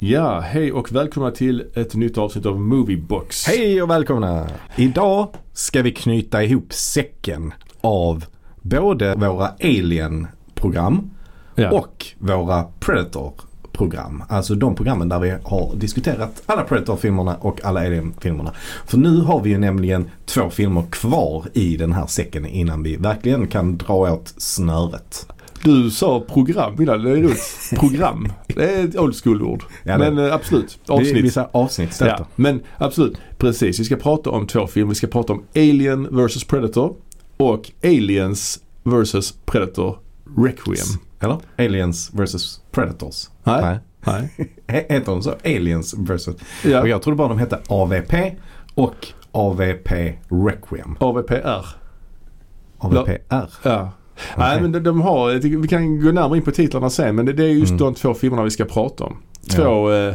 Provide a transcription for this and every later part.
Ja, hej och välkomna till ett nytt avsnitt av Moviebox. Hej och välkomna! Idag ska vi knyta ihop säcken av både våra Alien-program Ja. och våra Predator-program. Alltså de programmen där vi har diskuterat alla Predator-filmerna och alla Alien-filmerna. För nu har vi ju nämligen två filmer kvar i den här säcken innan vi verkligen kan dra åt snöret. Du sa program innan, det är roligt. Program. Det är ett old school-ord. Ja, det- men eh, absolut, avsnitt. Vi, vi säger avsnitt istället ja, då. men absolut, precis. Vi ska prata om två filmer. Vi ska prata om Alien vs Predator och Aliens vs Predator Requiem. Eller? Aliens vs Predators. Nej. Nej. He- Heter de så? Aliens vs. Ja. Och jag trodde bara de hette AVP och AVP Requiem. AVPR. AVPR. Ja. Nej men de, de har, jag tycker vi kan gå närmare in på titlarna sen men det, det är just Mm. de två filmerna vi ska prata om. Två eh,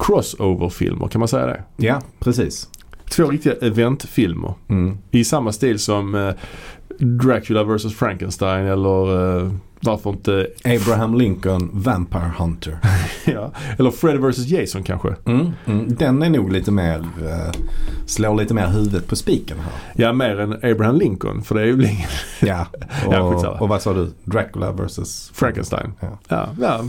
crossover-filmer, kan man säga det? Ja, precis. Två riktiga eventfilmer. Mm. I samma stil som eh, Dracula vs Frankenstein eller eh, varför inte Abraham Lincoln Vampire Hunter. ja, eller Fred vs Jason kanske. Mm. Mm. Den är nog lite mer, eh, slår lite mer huvudet på spiken här. Ja mer än Abraham Lincoln för det är ju Lin- Ja, och, Ja, skitsamma. och vad sa du? Dracula vs. Frankenstein. Ja. Ja, ja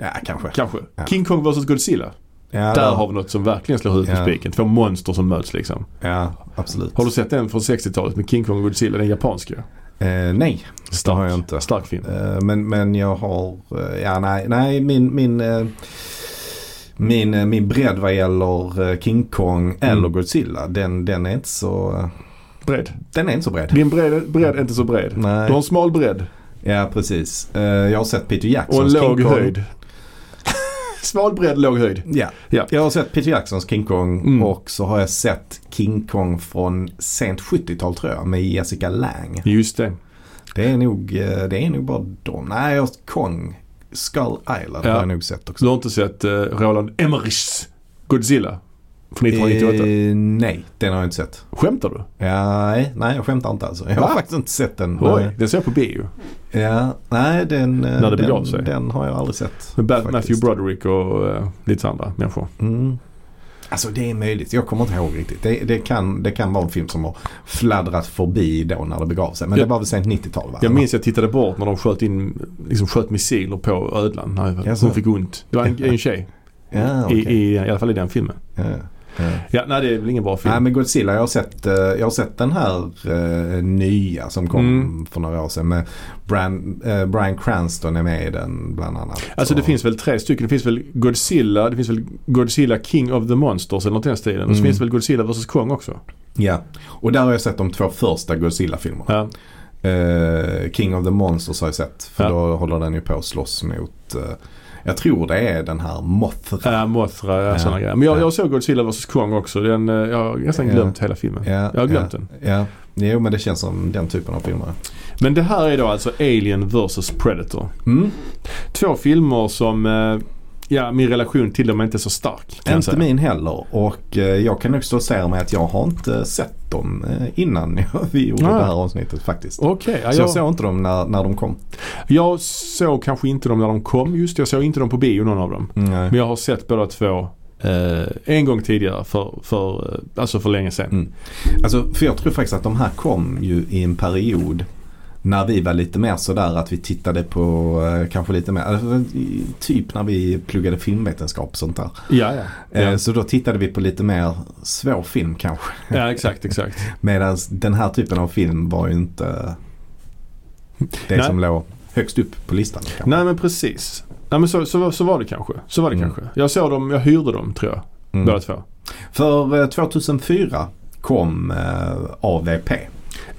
Ja, kanske. kanske. Ja. King Kong vs Godzilla. Ja, Där har vi något som verkligen slår huvudet på Ja. spiken. Två monster som möts liksom. ja absolut. Har du sett den från 60-talet med King Kong och Godzilla, den japanska? Eh, nej, det har jag inte. Stark film. Eh, Men, men jag har, eh, ja nej, nej min, min, eh, min, eh, min bredd vad gäller eh, King Kong Mm. eller Godzilla den, den är inte så, eh, Bred. den är inte så bred. Din bred, bred är inte så bred. Nej. Du har en smal bredd Ja precis. Eh, Jag har sett Peter och en Jacksons låg King Kong. höjd. smal bredd, låg höjd. Ja. Ja. Jag har sett Peter Jacksons King Kong Mm. och så har jag sett King Kong från sent 70-tal tror jag med Jessica Lange. Just det. Det är nog, eh, det är nog bara de. Nej, jag har Kong, Skull Island Ja. har jag nog sett också. Så du har inte sett eh, Roland Emmerichs Godzilla från 1998? Eh, nej, den har jag inte sett. Skämtar du? Ja, Eh. nej, nej, jag skämtar inte alltså. Jag har Va? faktiskt inte sett den. Oj, den såg jag på bio. Nej, ja, nej den, eh, När det begav den, sig. den har jag aldrig sett. Med Bat faktiskt. Matthew Broderick och eh, lite andra människor. Mm. Alltså det är möjligt. Jag kommer inte ihåg riktigt. Det, det, kan, det kan vara en film som har fladdrat förbi då när det begav sig. Men Ja. det var väl sent 90-tal va? Jag minns jag tittade bort när de sköt in, liksom sköt missiler på ödlan. Nej, Jaså? hon fick ont. Det var en, en tjej. Ja, I, okej. i, I alla fall i den filmen. Ja, ja. Ja, nej det är väl ingen bra film. Nej men Godzilla, jag har sett, eh, jag har sett den här eh, nya som kom Mm. för några år sedan. Med Bran, eh, Brian Cranston är med i den bland annat. Alltså det Och- finns väl tre stycken. Det finns väl Godzilla, det finns väl Godzilla King of the Monsters eller något i den stilen. Och så Mm. finns det väl Godzilla vs Kong också. Ja, och där har jag sett de två första Godzilla-filmerna. Ja. Eh, King of the Monsters har jag sett. För Ja. då håller den ju på att slåss mot, eh, jag tror det är den här Mothra. Äh, Mothra, ja. Ja. sådana grejer. Men jag, Ja. jag såg Godzilla vs Kong också. Den, eh, jag har nästan Ja. glömt hela filmen. Ja, Jag har glömt ja, den. Ja. Jo men det känns som den typen av filmer. Men det här är då alltså Alien vs Predator. Mm. Två filmer som, eh, ja min relation till dem är inte så stark. Kan jag Inte säga. min heller och eh, jag kan nog stå och säga med att jag har inte sett dem eh, innan vi gjorde Ah. det här avsnittet faktiskt. Okej, ja, Så jag jag, såg inte dem när, när de kom. jag såg kanske inte dem när de kom just. Jag såg inte dem på bio någon av dem. Nej. Men jag har sett båda två eh, en gång tidigare för, för, eh, alltså för länge sedan. Mm. Alltså, för jag tror faktiskt att de här kom ju i en period när vi var lite mer sådär att vi tittade på eh, kanske lite mer, alltså, i- typ när vi pluggade filmvetenskap och sånt där. Ja, ja. Eh, ja. Så då tittade vi på lite mer svår film kanske. ja exakt, exakt. Medan den här typen av film var ju inte det Nej. som låg högst upp på listan. kanske. Nej men precis. Nej men så, så, så var det kanske. Så var det Mm. kanske. Jag såg dem, jag hyrde dem tror jag. Båda Mm. två. För eh, 2004 kom eh, AVP.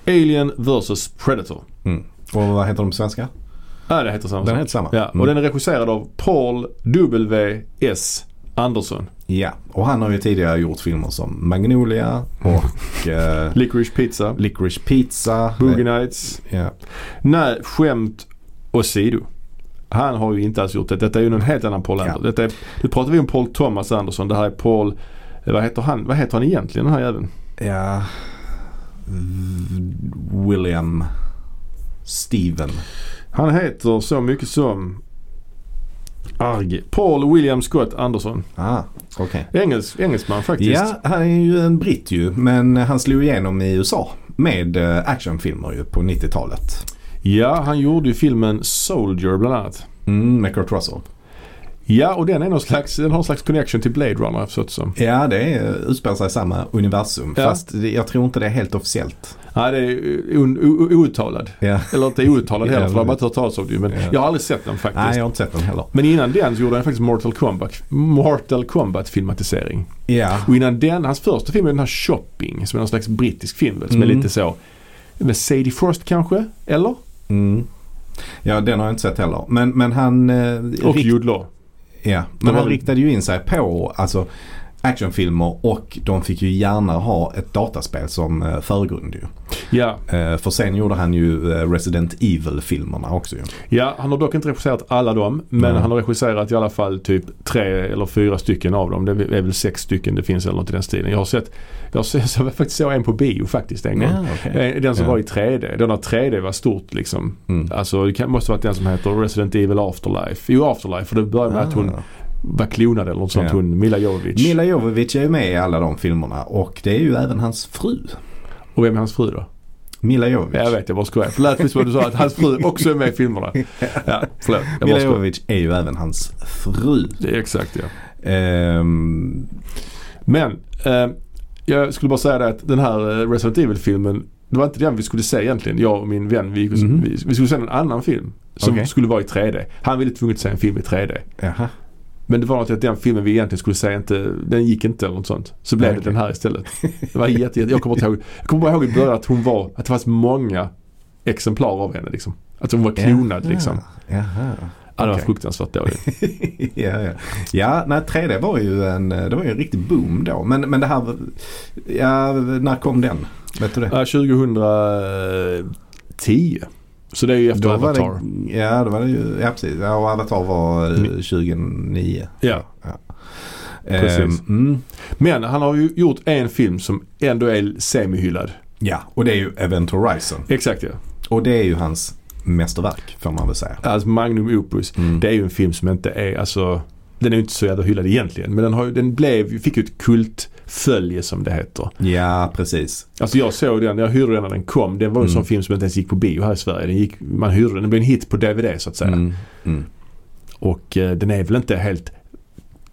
Alien vs Predator. Mm. Och vad heter de på svenska? Ja det heter samma Den sak. heter samma. Ja, Mm. och den är regisserad av Paul W.S. Anderson. Ja, och han har ju tidigare gjort filmer som Magnolia och eh, Licorice Pizza. Licorice Pizza. Boogie Nights. Ja. Nej, skämt åsido. Han har ju inte alls gjort det. Detta är ju en helt annan Paul Ja. Anderson. Detta är, nu pratar vi om Paul Thomas Anderson. Det här är Paul, eh, vad heter han, vad heter han egentligen den här jäveln? ja. William Steven. Han heter så mycket som Arg. Paul William Scott Anderson. Ah, okej. Engelsk, engelsman faktiskt. Ja, han är ju en britt ju. Men han slog igenom i USA med eh, actionfilmer ju på 90-talet. ja, han gjorde ju filmen Soldier bland annat. Mm, med Kurt Russell. Ja, och den, är någon slags, den har någon slags connection till Blade Runner har jag förstått som. Ja, det är, utspelar sig i samma universum. Ja. Fast det, jag tror inte det är helt officiellt. Nej, det är un- o- outtalad. Ja. Eller inte outtalad heller för jag Ja, har bara men- inte hört talas om det. Men Ja. jag har aldrig sett den faktiskt. Nej, jag har inte sett den heller. Men innan den så gjorde han faktiskt Mortal Kombat, Mortal Kombat filmatisering. Ja, Och innan den, hans första film är den här Shopping som är någon slags brittisk film väl, som är Mm. lite så. Med Sadie Frost kanske? Eller? mm. ja den har jag inte sett heller. Men, men han... eh, Och rikt- Jude Law. Ja, De men han har- riktade ju in sig på alltså, actionfilmer och de fick ju gärna ha ett dataspel som eh, förgrund ju. Ja. Eh, för sen gjorde han ju eh, Resident Evil-filmerna också ju. ja, han har dock inte regisserat alla dem. Men Nej. han har regisserat i alla fall typ tre eller fyra stycken av dem. Det är väl sex stycken det finns eller något i den stilen. Jag har sett, jag, har sett, jag faktiskt såg en på bio faktiskt en gång. Mm. Eh, Den som Ja. var i 3D. Den där 3D var stort liksom. Mm. Alltså det kan, måste varit den som heter Resident Evil Afterlife. Jo Afterlife för det började med att hon Ah. var klonad eller något sånt. Ja. Hon Mila Jovovich. Mila Jovovich är ju med i alla de filmerna och det är ju även hans fru. Och vem är hans fru då? Mila Jovovich. Ja, jag vet, jag bara skojar. För lät precis vad du sa att hans fru också är med i filmerna. Ja, förlåt. Jag bara Mila skojar. Jovovich är ju även hans fru. Det är exakt ja. Ehm, Men eh, jag skulle bara säga det att den här eh, Resident Evil-filmen det var inte den vi skulle se egentligen. Jag och min vän vi, Mhm. vi, vi skulle se en annan film som Okej. skulle vara i 3D. Han ville tvunget se en film i 3D. jaha. Men det var något i att den filmen vi egentligen skulle säga inte, den gick inte eller något sånt. Så blev det Okej. den här istället. Det var jätte, jätte, jag kommer inte ihåg, jag kommer bara ihåg i början att hon var, att det fanns många exemplar av henne liksom. Att hon var klonad liksom. Jaha. Ja, det var Ah. Okej. fruktansvärt dåligt. ja, ja. ja nej, 3D var ju en, eh, det var ju en riktig boom då. Men, men det här, ja, när kom den? Vet du det? Ja, 2010. Så det är ju efter Då var Avatar. Mm. det, ja, då var det ju, ja precis. Ja, och Avatar var eh, Ni- 2009. Ja. Ehm, Precis. mm. Men han har ju gjort en film som ändå är semihyllad. Ja, och det är ju Event Horizon. Exakt ja. Och det är ju hans mästerverk får man väl säga. Alltså Magnum Opus. Mm. Det är ju en film som inte är, alltså den är ju inte så jävla hyllad egentligen. Men den, har, ju- den blev, ju- fick ju ett kultfölje som det heter. Ja, precis. Alltså jag såg den, jag hyrde den när den kom. Den var ju en sån Mm. film som inte ens gick på bio här i Sverige. Den gick, man hyrde den, den blev en hit på DVD så att säga. Mm. Mm. Och eh, den är väl inte helt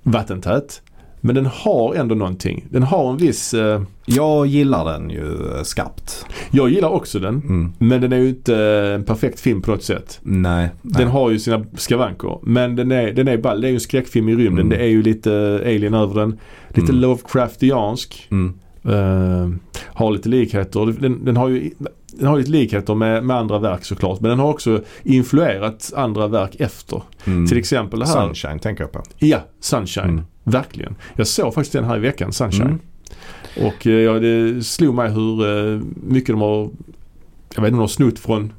vattentät. Men den har ändå någonting. Den har en viss, eh, Jag gillar den ju eh, skarpt. jag gillar också den. Mm. Men den är ju inte en perfekt film på något sätt. Nej. nej. Den har ju sina skavanker. Men den är, den är ball. Det är ju en skräckfilm i rymden. Mm. Det är ju lite alien över den. Lite Mm. Lovecraftiansk. Mm. Eh, har lite likheter. Den, den har ju den har lite likheter med, med andra verk såklart. Men den har också influerat andra verk efter. Mm. Till exempel det här. Sunshine tänker jag på. Ja, Sunshine. Mm. Verkligen. Jag såg faktiskt den här i veckan, Sunshine. Mm. Och eh, ja, det slog mig hur eh, mycket de har, jag vet inte om de har snott från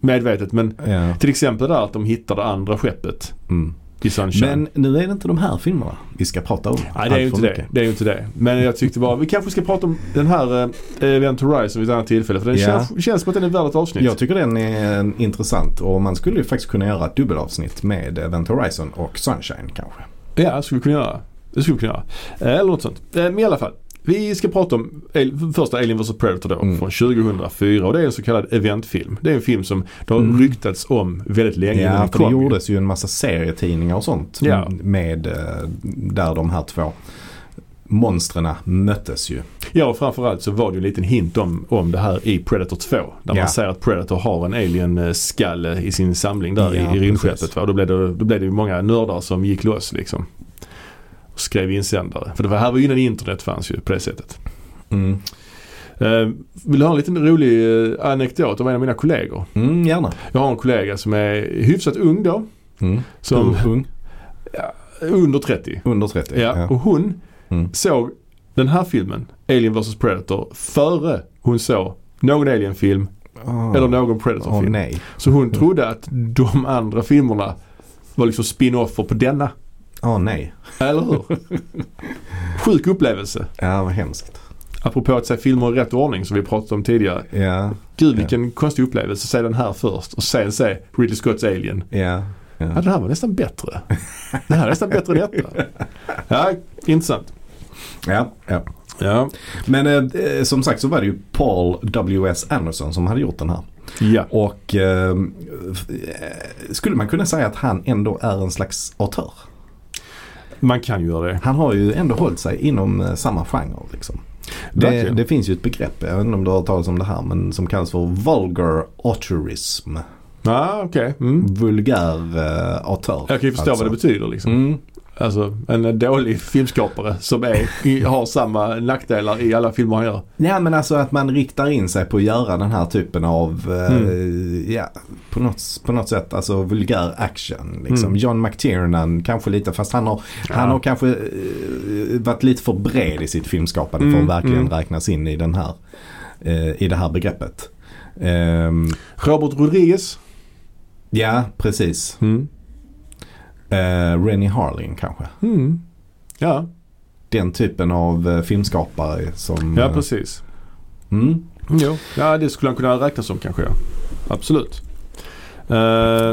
medvetet men Mm. Ja. till exempel där att de hittade andra skeppet Mm. i Sunshine. Men nu är det inte de här filmerna vi ska prata om. Nej det är ju Allt inte för det. mycket. det är ju inte det. Men jag tyckte bara, vi kanske ska prata om den här eh, Event Horizon vid ett annat tillfälle. För den Ja. känns, känns som att den är värd ett avsnitt. Jag tycker den är eh, intressant och man skulle ju faktiskt kunna göra ett dubbelavsnitt med Event Horizon och Sunshine kanske. Ja, det skulle vi kunna göra. Det skulle vi kunna göra. Eh, Eller något sånt. Eh, Men i alla fall. Vi ska prata om el- första Alien vs Predator då Mm. från 2004 och det är en så kallad eventfilm. Det är en film som det har Mm. ryktats om väldigt länge. men Ja, den för det kom ju. gjordes ju en massa serietidningar och sånt Ja. med eh, där de här två monstren möttes ju. Ja, och framförallt så var det ju en liten hint om, om det här i Predator 2. Där Ja. man säger att Predator har en alien-skalle i sin samling där Ja, i, i rymdskeppet. precis. Va? Och Då, blev det, då blev det ju många nördar som gick loss liksom. Och skrev insändare. För det var här var ju innan internet fanns ju på det sättet. Mm. Eh, vill du ha en liten rolig eh, anekdot om en av mina kollegor? Mm, gärna. Jag har en kollega som är hyfsat ung då. Mm. Som Hur ung? under 30. Under 30? Ja, och hon Mm. såg den här filmen, Alien vs Predator, före hon såg någon Alien-film Ah. eller någon Åh Predator-film. nej. Så hon trodde att de andra filmerna var liksom spin-offer på denna. Åh nej. Eller hur? Sjuk upplevelse. Ja, vad hemskt. Apropå att se filmer i rätt ordning som vi pratade om tidigare. Ja, Gud vilken konstig upplevelse. Se den här först och sen se Ridley Scotts Alien. ja. Ja. det här var nästan bättre. Det här är nästan bättre än detta. Ja, intressant. Ja, ja. Ja. Men eh, eh, som sagt så var det ju Paul W.S. Anderson som hade gjort den här. ja. Och eh, f- eh, skulle man kunna säga att han ändå är en slags autör? Man kan göra det. Han har ju ändå hållit sig inom eh, samma genre. Liksom. Det, Verkligen. det finns ju ett begrepp, jag vet inte om du har hört talas om det här, men som kallas för vulgar auteurism. Ja, okej. Mm. Vulgär eh, auteur. Jag kan ju förstå vad det betyder liksom. Mm. Alltså en dålig filmskapare som är, har samma nackdelar i alla filmer han gör. Ja men alltså att man riktar in sig på att göra den här typen av, eh, Mm. ja, på något, på något sätt, alltså vulgär action. Liksom. Mm. John McTiernan kanske lite, fast han har, han har kanske eh, varit lite för bred i sitt filmskapande för Mm, att verkligen mm. räknas in i, den här, eh, i det här begreppet. Ehm, Robert Rodriguez. ja, precis. Mm. Eh, Rennie Harling kanske. Mm. Ja. Den typen av eh, filmskapare som... ja, eh, precis. mm. Jo. Ja, det skulle han kunna räknas som kanske. Ja. Absolut. Eh,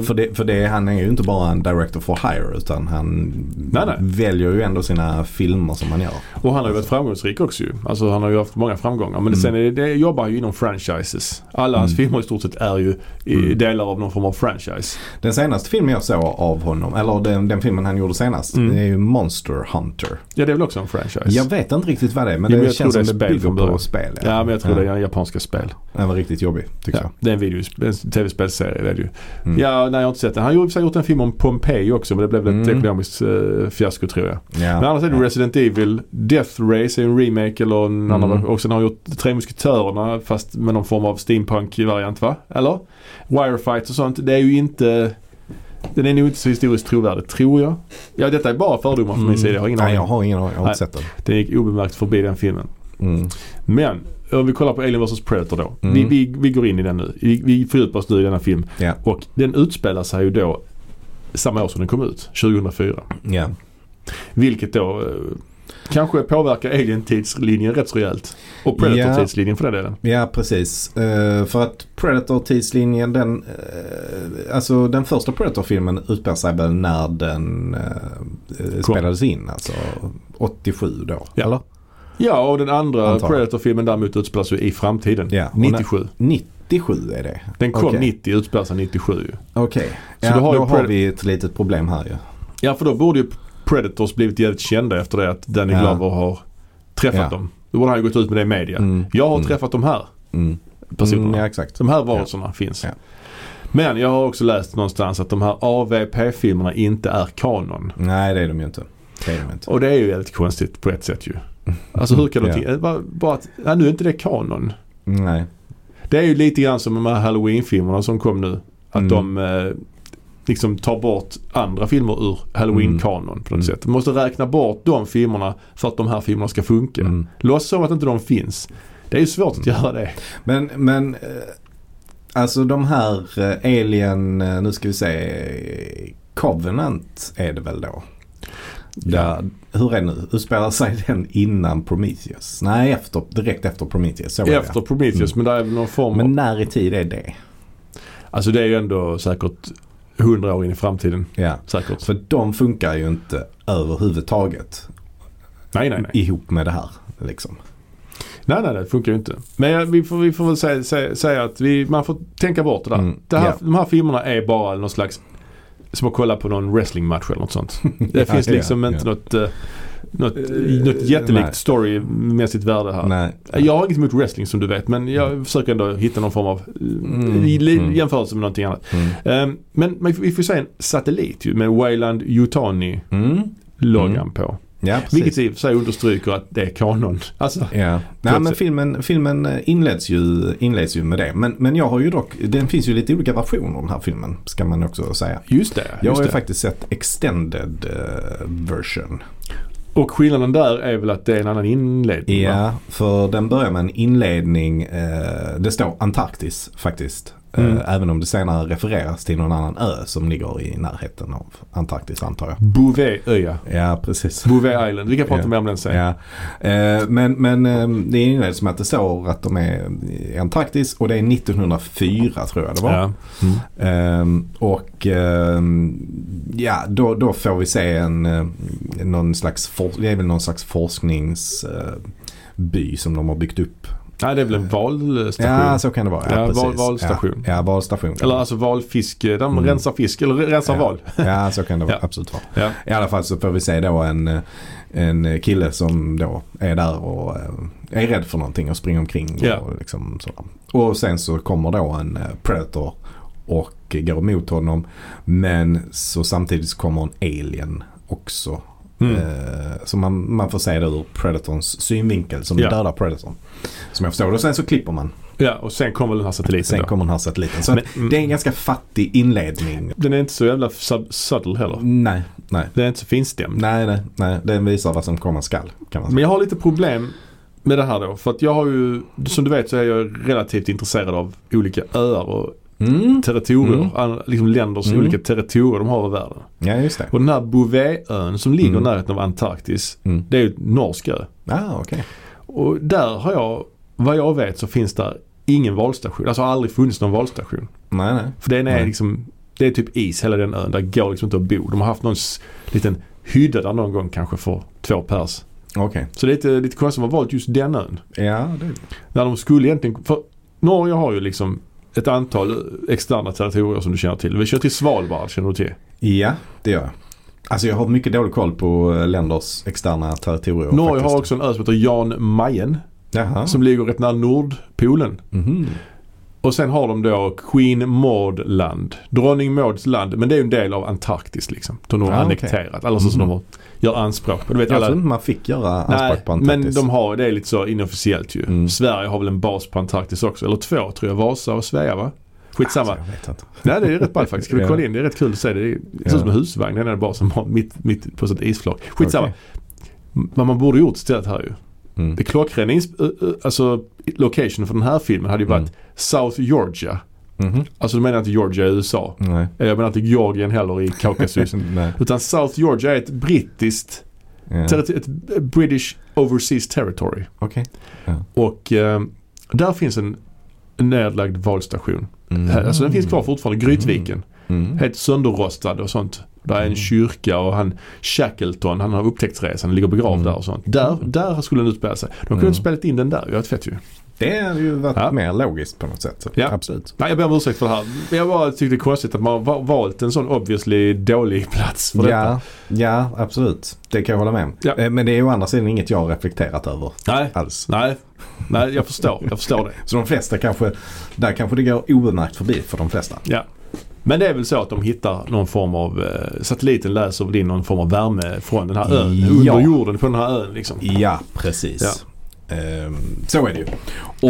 För, det, för det, han är ju inte bara en director for hire utan han Nej, nej. väljer ju ändå sina filmer som han gör. och han har ju varit framgångsrik också ju. Alltså han har ju haft många framgångar. Men Mm. sen är det, det jobbar han ju inom franchises. Alla hans Mm. filmer i stort sett är ju i Mm. delar av någon form av franchise. Den senaste filmen jag såg av honom, eller den, den filmen han gjorde senast, Mm. det är ju Monster Hunter. Ja, det är väl också en franchise. Jag vet inte riktigt vad det är men Jo, men det jag känns tror som det är det spel bygger från på början. spel. Ja, men jag tror ja. det är japanska spel. Den var riktigt jobbig tyckte Ja, det är en, video, en tv-spelserie. Det är det ju. liksom. Mm. Ja, nej, jag har inte sett den. Han har ju i och för sig gjort en film om Pompeji också men det blev väl ett Mm. ekonomiskt eh, fiasko tror jag. jag. Ja. Men annars är det Resident Evil. Death Race är en remake eller en Mm. annan. Och sen har han gjort Tre Musketörerna fast med någon form av steampunk-variant va? Eller? Wirefight och sånt. Det är ju inte... Den är nog inte så historiskt trovärdig tror jag. Ja detta är bara fördomar från min sida. Jag har ingen Mm. Nej, aning. jag har ingen aning. Jag har inte sett den. Den gick obemärkt förbi den filmen. Mm. Men om vi kollar på Alien vs Predator då. Mm. Vi, vi, vi går in i den nu. Vi, vi fördjupar oss nu i denna film. Ja. Och den utspelar sig ju då samma år som den kom ut, 2004. Ja. Vilket då eh, kanske påverkar Alien-tidslinjen rätt så rejält. Och Predator-tidslinjen för den delen. Ja, precis. Eh, för att Predator-tidslinjen, den, eh, alltså den första Predator-filmen utspelar sig väl när den eh, eh, spelades in, alltså 87 då. Ja. Eller? Ja, och den andra Antar jag. Predator-filmen däremot utspelas ju i framtiden. Ja, och 97. 97 är det. Den kom Okej. 90, utspelar sig 97 ju. Okej, Så ja, du har ju då har Pred- vi ett litet problem här ju. Ja, för då borde ju Predators blivit jävligt kända efter det att Danny Ja. Glover har träffat Ja. dem. Då borde han ju gått ut med det i media. Mm. Jag har Mm. träffat de här Mm. personerna. Mm, ja, exakt. De här varelserna finns. Ja. Men jag har också läst någonstans att de här AVP-filmerna inte är kanon. Nej, det är de ju inte. Det är de inte. Och det är ju väldigt konstigt på ett sätt ju. Alltså hur kan de Mm. Ja. tänka- bara, bara att, ja, nu är inte det kanon. Nej. Det är ju lite grann som de här halloween-filmerna som kom nu. Att Mm. de eh, liksom tar bort andra filmer ur halloween-kanon på något Mm. sätt. De måste räkna bort de filmerna för att de här filmerna ska funka. Mm. Låtsas som att inte de finns. Det är ju svårt att göra det. Men, men eh, alltså de här eh, Alien, eh, nu ska vi se, eh, Covenant är det väl då? Där, hur är det nu? Utspelar sig den innan Prometheus? Nej, efter, direkt efter Prometheus. Så var det. Efter Prometheus, men där är väl någon form Mm. Men av... när i tid är det? Alltså det är ju ändå säkert 100 år in i framtiden. Ja. Säkert. För de funkar ju inte överhuvudtaget Nej, nej, nej. ihop med det här. Liksom. Nej, nej, det funkar ju inte. Men jag, vi, får, vi får väl säga, säga, säga att vi, man får tänka bort det där. Mm, Det här, ja. De här filmerna är bara någon slags som att kolla på någon wrestlingmatch eller något sånt. Det Ja, finns ja, liksom ja. eh, inte något, eh, något, något jättelikt nej. storymässigt värde här. Nej. Jag har inget emot wrestling som du vet men jag försöker ändå hitta någon form av eh, Mm, i- li- mm. jämförelse med någonting annat. Mm. Ehm, men men vi får säga en satellit ju med Wayland Yutani-loggan Mm. på. Ja, Vilket precis. i och för sig understryker att det är kanon. Alltså, Ja. Nej, men filmen, filmen eh, inleds, ju, inleds ju med det. Men, men jag har ju dock, den finns ju lite olika versioner av den här filmen ska man också säga. just det. Jag Just har ju det. faktiskt sett extended eh, version. Och skillnaden där är väl att det är en annan inledning va? Ja, för den börjar med en inledning. eh, det står Antarktis faktiskt. Eh, Mm. Även om det senare refereras till någon annan ö som ligger i närheten av Antarktis antar jag. Bouvetøya. Ja, precis. Bouvet Island. Vi kan prata Ja. mer om den sen. Ja. Eh, Men, men eh, det inleds med att det står att de är i Antarktis och det är 1904 tror jag det var. Ja. Mm. Ehm, och ehm, ja, då, då får vi se en, eh, någon slags, for, det är väl någon slags forskningsby som de har byggt upp. Nej, det är väl en valstation. Ja, så kan det vara. Ja, Ja, precis. val- valstation. Ja, ja valstation. Eller alltså valfiske. De Mm. rensar fisk. Eller rensar Ja. val. Ja, så kan det vara. Ja. Absolut vara. Ja. I alla fall så får vi se då en, eh, en kille som då är där och eh, är rädd för någonting och springer omkring. Ja. Och, liksom så. och sen så kommer då en eh, predator och går emot honom. Men så samtidigt så kommer en alien också. Mm. Eh, Så man, man får se det ur predatorns synvinkel som Ja. dödar predatorn. Som jag förstår det. Och sen så klipper man. ja, och sen kommer den här satelliten. Sen då. kommer den här satelliten. Så Men- att det är en ganska fattig inledning. Den är inte så jävla sub- subtle heller. Nej, nej. Den är inte så finstämd. Nej, nej, nej. Den visar vad som komma skall kan man säga. Men jag har lite problem med det här då. För att jag har ju, som du vet så är jag relativt intresserad av olika öar och Mm. territorier. Mm. An- Liksom länders Mm. olika territorier de har över världen. Ja, just det. Och den här Bouvetön som ligger Mm. i närheten av Antarktis. Mm. Det är ju en norsk ö. Ah, okej. Och där har jag, vad jag vet så finns där ingen valstation. Alltså har aldrig funnits någon valstation. Nej, nej. För den är Nej. liksom, det är typ is hela den ön. Där går liksom inte att bo. De har haft någon s- liten hydda där någon gång kanske för två pers. Okej. Så det är lite, lite konstigt att man har valt just den ön. Ja, det... När de skulle egentligen, för Norge har ju liksom ett antal externa territorier som du känner till. Vi kör till Svalbard känner du till. ja, det gör jag. Alltså jag har mycket dålig koll på eh, länders externa territorier. Norge faktiskt. har också en ö som heter Jan Mayen Jaha. som ligger rätt nära Nordpolen. Mhm. Och sen har de då Queen Maud land. Drottning Mauds land. Men det är ju en del av Antarktis liksom. Som de har Ah, okej. Mm. annekterat. Eller så som de har, gör anspråk på. Du vet Jag alla... trodde inte man fick göra Nej, anspråk på men Antarktis. de har, det är lite så inofficiellt ju. Mm. Sverige har väl en bas på Antarktis också. Eller två tror jag. Vasa och Svea va? Skitsamma. Alltså, jag vet inte. Nej det är rätt ballt faktiskt. Ska du Ja. kolla in? Det är rätt kul att se. Det, är, det ser ut som en husvagn. Den är bara som har mitt, mitt på ett isflak. Skitsamma. Okej. Men man borde gjort stället här ju. Mm. Det klockrena ins- ö- ö- alltså, location för den här filmen hade ju varit Mm. South Georgia. Mhm. Alltså du menar inte Georgia i USA. Nej. Eh, Jag menar inte Georgien heller i Kaukasus. Nej. Utan South Georgia är ett brittiskt, Ja. terri- ett British Overseas Territory. Okej. Och eh, där finns en nedlagd valstation. Mm. Alltså den finns kvar fortfarande, Grytviken. Mm. Helt sönderrostad och sånt. Där är en Mm. kyrka och han Shackleton, han har upptäcktsresan, ligger begravd Mm. där och sånt. Där, där skulle den utspela sig. De kunde Mm. inte spelat in den där, jag är fett ju. Det hade ju varit Ja. mer logiskt på något sätt. Ja. Absolut. Nej, jag ber om ursäkt för det här. Men Jag bara tyckte det är konstigt att man har va- valt en sån obviously dålig plats för detta. Ja, ja, absolut. Det kan jag hålla med om. Ja. Eh, Men det är å andra sidan inget jag har reflekterat över Nej, alls. nej, nej, jag förstår. Jag förstår det. Så de flesta kanske, där kanske det går obemärkt förbi för de flesta. Ja. Men det är väl så att de hittar någon form av, eh, satelliten läser väl in någon form av värme från den här ön, Ja. under jorden på den här ön liksom. Ja, precis. Ehm, så är det ju.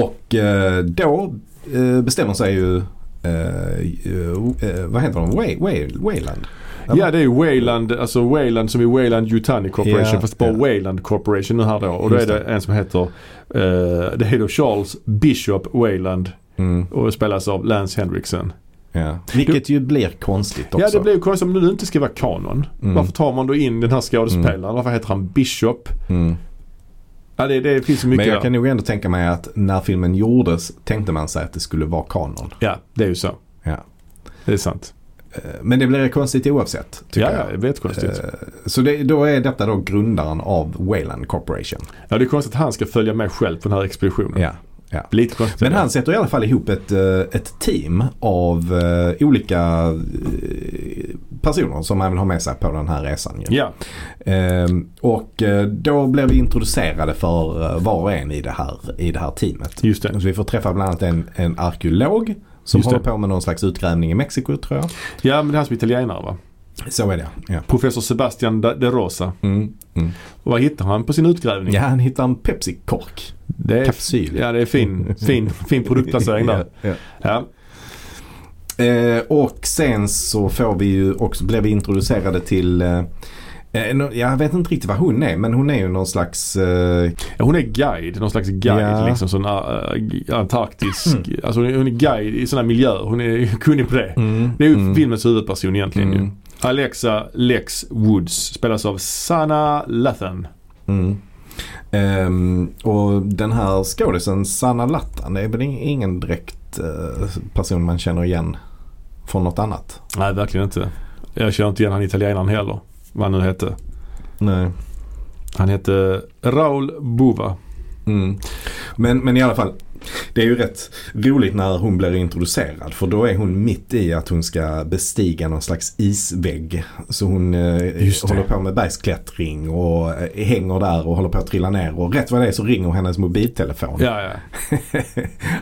Och eh, då eh, bestämmer sig ju, eh, eh, vad heter de, Way, Way, Wayland? Eller? Ja det är ju Wayland, alltså Wayland som i Wayland Yutani Corporation Ja, fast bara ja. Wayland Corporation nu här då. Och då är Just det en som heter, eh, det är då Charles Bishop Wayland Mm, och spelas av Lance Henriksen. ja. Vilket ju blir konstigt också. Ja det blir ju konstigt om det nu inte ska vara kanon. Mm. Varför tar man då in den här skådespelaren? Varför heter han Bishop? Mm. Ja det, det finns ju mycket Men jag där. kan nog ändå tänka mig att när filmen gjordes tänkte man sig att det skulle vara kanon. Ja det är ju så. Ja. Det är sant. Eh, Men det blir konstigt oavsett. Tycker Ja, ja, jag. det är jättekonstigt. Eh, Så det, då är detta då grundaren av Wayland Corporation. Ja det är konstigt att han ska följa med själv på den här expeditionen. Ja, ja. Lite konstigt. Men han sätter i alla fall ihop ett, eh, ett team av eh, olika eh, personer som han vill ha med sig på den här resan. Ju. Ja, Ehm, och eh, då blir vi introducerade för eh, var och en i det här, i det här teamet. just det. Så vi får träffa bland annat en, en arkeolog som Just det. håller på med någon slags utgrävning i Mexiko tror jag. Ja men det är han som är italienare va? Så är det ja. Professor Sebastian Da- de Rosa. Mm, mm. Och vad hittar han på sin utgrävning? Ja, han hittar en Pepsi-kork. Det är, Kapsyl. ja, det är fin, fin, fin produktplacering där. Ja, ja. Ja. Eh, och sen så får vi ju också, blev vi introducerade till eh, Eh, nå- Jag vet inte riktigt vad hon är men hon är ju någon slags... eh, Ja, hon är guide, någon slags guide. Ja. Mm. Liksom sån här, eh, g- antarktisk. Alltså hon är, hon är guide i sådana här miljöer. Hon är kunnig på det. Det är ju filmens huvudperson egentligen ju. Mm. Alexa Lex Woods spelas av Sanna Lathan. Mm. Ehm, och den här skådisen Sanna Lattan det är väl in- ingen direkt eh, person man känner igen från något annat. Nej, verkligen inte. Jag känner inte igen han italienaren heller. Vad han nu hette. Nej. Han hette Raul Bova. Mm. Men, men i alla fall, det är ju rätt roligt när hon blir introducerad för då är hon mitt i att hon ska bestiga någon slags isvägg. Så hon eh, Just det. håller på med bergsklättring och eh, hänger där och håller på att trilla ner och rätt vad det är så ringer hennes mobiltelefon. Ja, ja.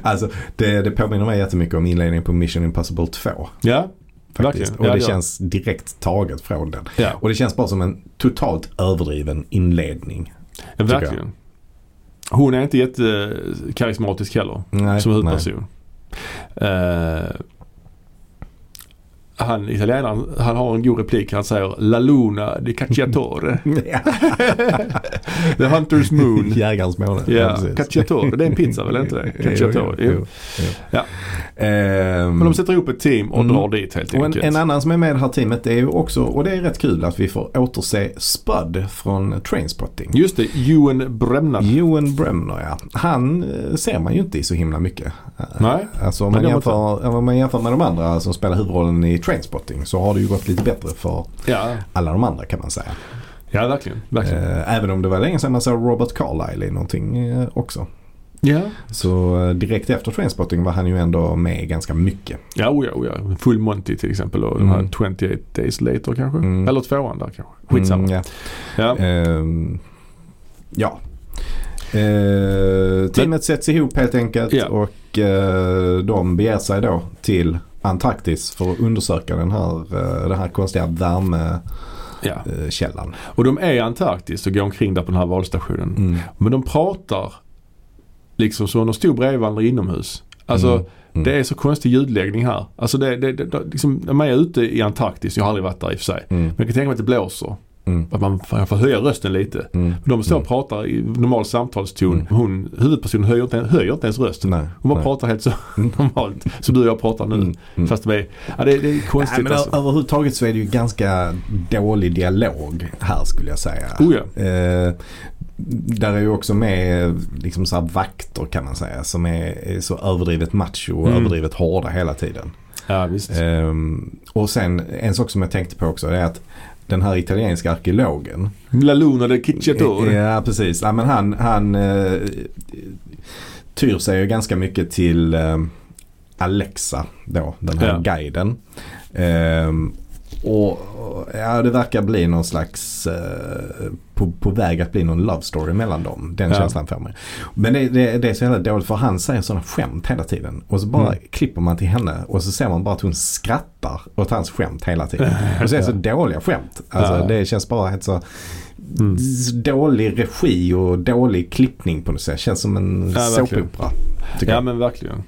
Alltså det, det påminner mig jättemycket om inledningen på Mission Impossible 2. Ja, Faktiskt. Verkligen. Och Ja, det ja. känns direkt taget från den. ja. Och det känns bara som en totalt överdriven inledning. ja verkligen. Hon är inte jättekarismatisk heller. Nej, som nej. huvudperson. Eh, han italienaren, han har en god replik. Han säger La Luna di Cacciatore. Ja, The Hunter's Moon. Jägarens måne. Ja, precis. Cacciatore. Det är en pizza väl inte det? Cacciatore. Jo, Jo. jo, jo. Ehm, Men de sätter ihop ett team och Mm. drar dit helt och en, enkelt. en annan som är med i det här teamet är ju också, och det är rätt kul att vi får återse Spud från Trainspotting. Just det, Ewan Bremner. Johan Bremner ja. Han eh, ser man ju inte i så himla mycket. Nej. Alltså om Nej, man, det har jämför, om man jämför med de andra som spelar huvudrollen i Trainspotting så har det ju gått lite bättre för Ja, alla de andra kan man säga. ja verkligen. verkligen. Eh, även om det var länge sedan man såg Robert Carlyle i någonting eh, också. Ja, Så eh, direkt efter Trainspotting var han ju ändå med ganska mycket. ja, oh ja, oh ja. Full Monty till exempel och Mm. de här 28 Days Later kanske. Mm. Eller tvåan där kanske. Skitsamma. Mm, Ja. ja. Ehm, ja. Eh, teamet sätts ihop helt enkelt Ja. och eh, de beger sig då till Antarktis för att undersöka den här, eh, den här konstiga värmekällan. Ja. Eh, källan. Och de är i Antarktis och går omkring där på den här valstationen. Mm. Men de pratar liksom som om de stod bredvid varandra inomhus. Alltså Mm. Mm. det är så konstig ljudläggning här. Alltså det, det, det, det, liksom, när man är ute i Antarktis, jag har aldrig varit där i och för sig. Mm. Men jag kan tänka mig att det blåser. Mm. Att man får, får höja rösten lite. Mm. De står och pratar i normal samtalston. Mm. Hon, huvudpersonen höjer inte, höjer inte ens rösten. Nej, Hon bara nej. pratar helt så Mm. normalt som du och jag pratar nu. Mm. Mm. Fast det är, ja, det, det är konstigt Nej, men alltså. Överhuvudtaget så är det ju ganska dålig dialog här skulle jag säga. Oh ja. Eh, där är ju också med eh, liksom så här vakter kan man säga som är, är så överdrivet macho och Mm. överdrivet hårda hela tiden. Ja, visst. Ehm, och sen en sak som jag tänkte på också det är att den här italienska arkeologen. La Luna del Cicciatore. Ja precis. Ja, men han han eh, tyr sig ju ganska mycket till eh, Alexa då, den här Ja. guiden. Ehm, och ja, det verkar bli någon slags eh, på, på väg att bli någon love story mellan dem. Den Ja. känslan får man. Men det, det, det är så jävla dåligt för han säger sådana skämt hela tiden. Och så bara Mm. klipper man till henne och så ser man bara att hon skrattar åt hans skämt hela tiden. Och så är det så dåliga skämt. Alltså, Ja. Det känns bara helt så Mm. dålig regi och dålig klippning på något sätt. Känns som en Ja, verkligen. såpopera. tycker Ja jag. men verkligen.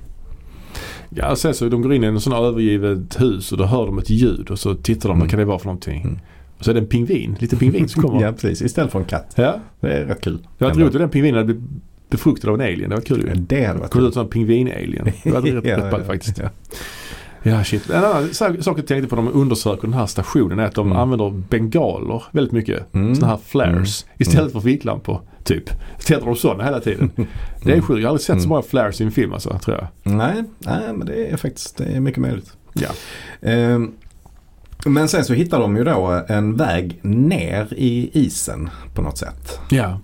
Ja och sen så de går in i en sån här övergivet hus och då hör de ett ljud och så tittar de Mm. vad kan det vara för någonting. Mm. Och så är det en pingvin, lite pingvin som kommer. ja, precis. Istället för en katt. ja. Det är rätt kul. Det var roligt om den pingvinen hade blivit befruktad av en alien. Det var kul ju. Det hade varit Kom kul. ut som en pingvin-alien. Det var rätt Ja, rätt ballt ja. faktiskt. Ja shit. En annan sak sak jag tänkte på när de undersöker den här stationen är att de Mm. använder bengaler väldigt mycket. Mm. Sådana här flares istället för ficklampor. Typ. Tänder de sådana hela tiden. Det är sjukt. Jag har aldrig sett så Mm. många flares i en film alltså, tror jag. Nej, nej, men det är faktiskt det är mycket möjligt. Ja. Ehm, men sen så hittar de ju då en väg ner i isen på något sätt. Ja.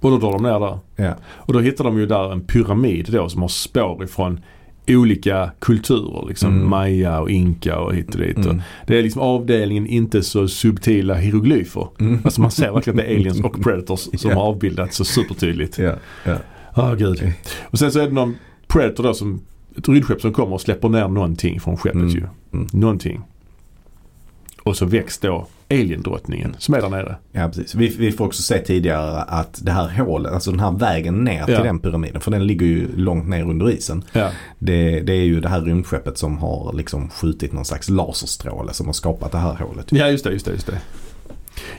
Och då drar de ner där. Ja. Och då hittar de ju där en pyramid då som har spår ifrån olika kulturer. Liksom Mm. maya och inka och hit och dit. Mm. Och det är liksom avdelningen inte så subtila hieroglyfer. Mm. Alltså man ser verkligen att det är aliens och predators som Ja. har avbildats så supertydligt. Ja, ja. Ah, gud. Och sen så är det någon predator då som ett rymdskepp som kommer och släpper ner någonting från skeppet Mm. ju. Mm. Någonting. Och så väcks då aliendrottningen som är där nere. Ja, precis. Vi, vi får också se tidigare att det här hålet, alltså den här vägen ner Ja. till den pyramiden, för den ligger ju långt ner under isen. Ja. Det, det är ju det här rymdskeppet som har liksom skjutit någon slags laserstråle som har skapat det här hålet. Ja, just det, just det, just det.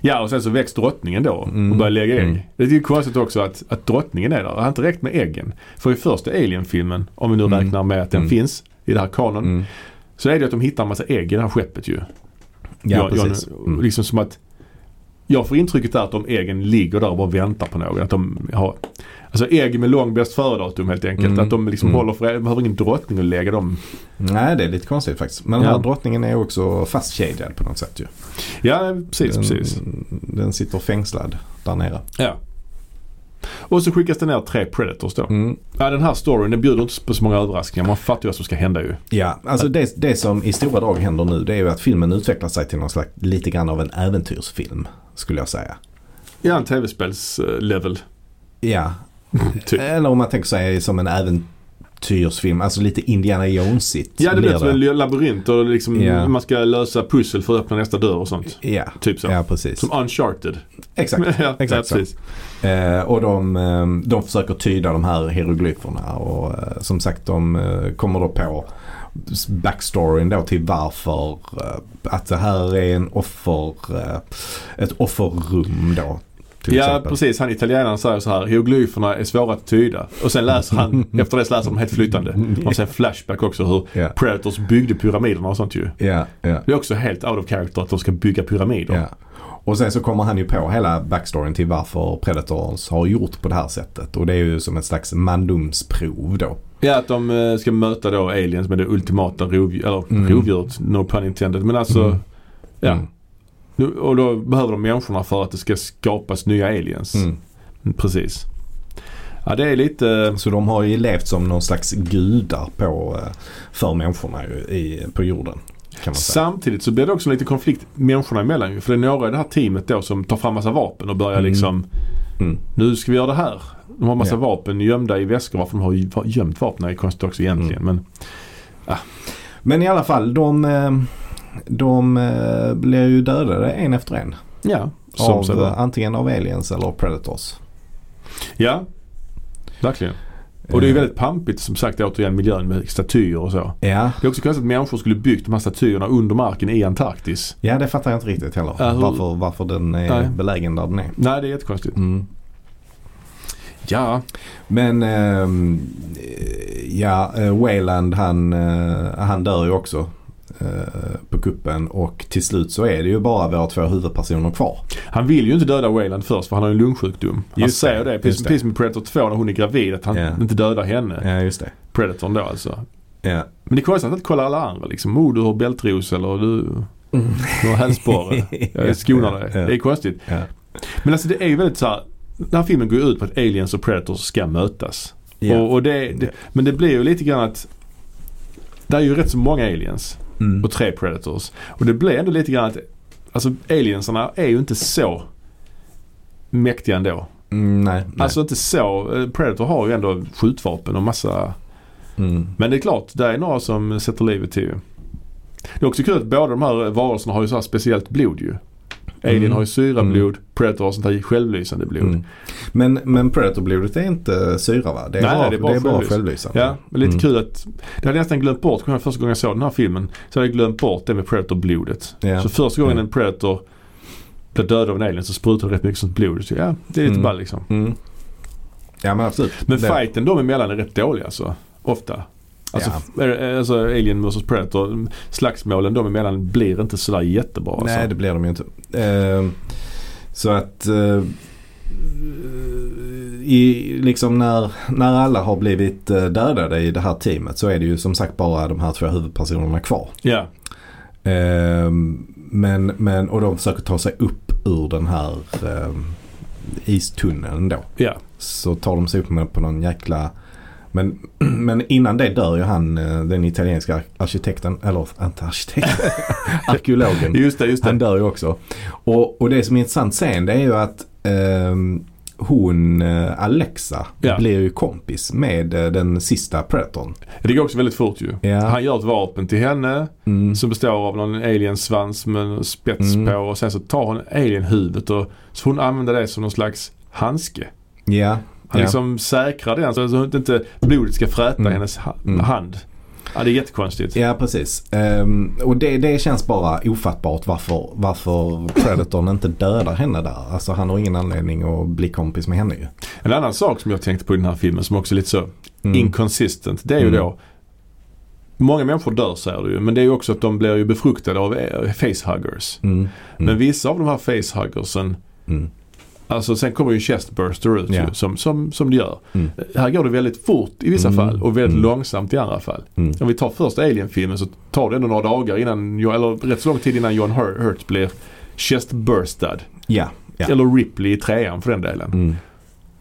Ja och sen så väcks drottningen då Mm. och börjar lägga ägg. Mm. Det är ju konstigt också att, att drottningen är där. Det har inte räckt med äggen. För i första Alien-filmen, om vi nu Mm. räknar med att den Mm. finns i det här kanon. Mm. Så är det ju att de hittar en massa ägg i det här skeppet ju. Ja, jag, precis. Jag, Mm. liksom som att jag får intrycket där att de äggen ligger där och bara väntar på någon. Att de har, alltså ägg med lång bäst före-datum helt enkelt. Mm. Att de liksom Mm. håller för, de behöver ingen drottning att lägga dem. Nej, det är lite konstigt faktiskt. Men den Ja. här drottningen är också fastkedjad på något sätt ju. Ja, precis, den, precis. Den sitter fängslad där nere. Ja. Och så skickas det ner tre predators då. Mm. Ja, den här storyn den bjuder inte på så många överraskningar. Man fattar ju vad som ska hända ju. Ja, alltså det, det som i stora drag händer nu det är ju att filmen utvecklar sig till någon slags, lite grann av en äventyrsfilm skulle jag säga. Ja, en tv-spelslevel. Ja, Typ. eller om man tänker sig som en äventyrsfilm, alltså lite Indiana Jones-igt. Ja, det blir blir som en labyrint och liksom Ja. man ska lösa pussel för att öppna nästa dörr och sånt. Ja, Typ så. ja precis. Som Uncharted. Exakt. ja, exakt ja, så. precis. Eh, och de, eh, de försöker tyda de här hieroglyferna och eh, som sagt de eh, kommer då på backstoryn då till varför eh, att det här är en offer, eh, ett offerrum då. Till Ja, exempel. precis. Han italienaren säger så här. Hieroglyferna är svåra att tyda. Och sen läser han, efter det så läser de helt flytande. Och sen flashback också hur Ja. Predators byggde pyramiderna och sånt ju. Ja, ja, Det är också helt out of character att de ska bygga pyramider. ja. Och sen så kommer han ju på hela backstoryn till varför Predators har gjort på det här sättet. Och det är ju som ett slags mandomsprov då. Ja, att de eh, ska möta då aliens med det ultimata rovdjuret. Eller Mm. rovdjuret, no pun intended. Men alltså, Mm. ja. Mm. Nu, och då behöver de människorna för att det ska skapas nya aliens. Mm. Precis. Ja, det är lite... eh, Så de har ju levt som någon slags gudar på, eh, för människorna ju, i, på jorden. Kan man säga. Samtidigt så blir det också lite konflikt människorna emellan ju. För det är några i det här teamet då som tar fram massa vapen och börjar Mm. liksom Mm. Nu ska vi göra det här. De har massa Ja. vapen gömda i väskor. Varför de har ju- gömt vapen är konstigt också egentligen. Mm. Men Men i alla fall, de, eh, de eh, blir ju dödade en efter en. ja, som sig Av, bör. eh, antingen av aliens eller av predators. Ja, verkligen. Och det är ju Eh, väldigt pampigt som sagt återigen miljön med statyer och så. Ja. Det är också konstigt att människor skulle byggt de här statyerna under marken i Antarktis. ja, det fattar jag inte riktigt heller. Ja, hur- varför, varför den är Nej. belägen där den är. Nej, det är jättekonstigt. Mm. Ja, Men ehm, ja, eh, Wayland han, eh, han dör ju också eh, på kuppen och till slut så är det ju bara våra två huvudpersoner kvar. han vill ju inte döda Wayland först för han har ju en lungsjukdom. Han Just säger det, det, precis just det. precis som i Predator 2 när hon är gravid, att han Ja. inte dödar henne. Ja, just det. Predatorn då alltså. Ja. Men det är konstigt att inte kolla alla andra liksom. Oh, du har bältros eller du, du har hälsporre. Jag skonar dig. Mm. Ja. Det är konstigt. Ja. Men alltså det är ju väldigt så här. Den här filmen går ju ut på att aliens och predators ska mötas. Ja. Och, och det, det, men det blir ju lite grann att det är ju rätt så många aliens Mm. och tre predators. Och det blir ändå lite grann att alltså aliensarna är ju inte så mäktiga ändå. Mm, nej, nej. Alltså inte så. eh, Predator har ju ändå skjutvapen och massa. mm. Men det är klart, det är några som sätter livet till ju. Det är också kul att båda de här varelserna har ju så här speciellt blod ju. Alien Mm. har ju syrablod, Predator har sånt här självlysande blod. Mm. Men, men Predator-blodet är inte syra va? Det är Nej, bara, nej, det är bara självlys- självlysande. Ja, men lite Mm. kul att... Det hade jag nästan glömt bort. Kommer jag ihåg första gången jag såg den här filmen så hade jag glömt bort det med Predator-blodet. Ja. Så första gången Ja. en Predator blev dödad av en alien så sprutade det rätt mycket sånt blod. Så ja, det är lite Mm. ball liksom. Mm. Ja men absolut. Men Det- fighten dem emellan är rätt dålig alltså. Ofta. Alltså, Ja. f- eh, alltså Alien vs Predator. Slagsmålen dem emellan blir inte sådär jättebra. Alltså. Nej, det blir de ju inte. Eh, så att eh, i, liksom när, när alla har blivit eh, dödade i det här teamet så är det ju som sagt bara de här två huvudpersonerna kvar. Ja, Eh, men, men, och de försöker ta sig upp ur den här eh, istunneln då. ja. Så tar de sig upp med på någon jäkla men, men innan det dör ju han eh, den italienska arkitekten, eller inte arkitekten, arkeologen. Just det, just det. Han dör ju också. Och, och det som är intressant sen det är ju att ehm, hon eh, Alexa Ja. blir ju kompis med eh, den sista predatorn. Det går också väldigt fort ju. Ja. Han gör ett vapen till henne. Mm. Som består av någon aliensvans med en spets Mm. på och sen så tar hon alienhuvudet och så får hon använda det som någon slags handske. Ja. Han ja. liksom säkrar den så att inte blodet ska fräta Mm. hennes ha- Mm. hand. Ja, det är jättekonstigt. Ja precis. Ehm, och det, det känns bara ofattbart varför, varför Predatorn inte dödar henne där. Alltså han har ingen anledning att bli kompis med henne ju. En annan sak som jag tänkte på i den här filmen som också är lite så Mm. inconsistent. Det är ju Mm. då Många människor dör säger du ju men det är ju också att de blir ju befruktade av eh, facehuggers. Mm. Mm. Men vissa av de här facehuggersen, Mm. alltså sen kommer ju chestburster ut Ja. ju, som, som, som det gör. Mm. Här går det väldigt fort i vissa Mm. fall och väldigt Mm. långsamt i andra fall. Mm. Om vi tar första Alien-filmen så tar det ändå några dagar innan, eller rätt så lång tid innan John Hurt, Hurt blir chestburstad. Ja. ja. Eller Ripley i trean för den delen. Mm.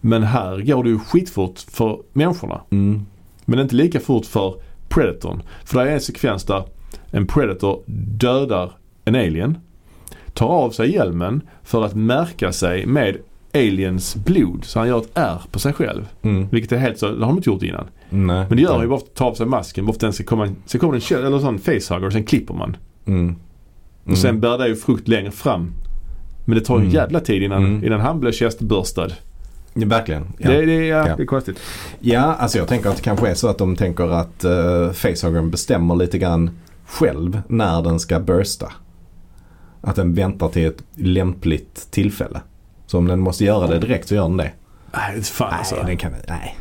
Men här går det ju skitfort för människorna. Mm. Men inte lika fort för Predatorn. För det är en sekvens där en Predator dödar en alien. Tar av sig hjälmen för att märka sig med aliens blod. Så han gör ett ärr på sig själv. Mm. Vilket är helt så, det har de inte gjort innan. Nej. Mm, Men det gör han ju bara för att ta av sig masken. Bara för att den ska komma en, sen kommer det en kä- eller en sån facehugger och sen klipper man. Mm. Mm. Och sen bär det ju frukt längre fram. Men det tar ju en Mm. jävla tid innan, Mm. innan han blir kästbörstad. Ja, verkligen. Ja. Det, det, ja, Ja. det är konstigt. ja, alltså jag tänker att det kanske är så att de tänker att uh, Facehuggern bestämmer lite grann själv när den ska bursta. Att den väntar till ett lämpligt tillfälle. Så om den måste göra det direkt så gör den det. Nej, fan alltså. Nej, den kan Nej.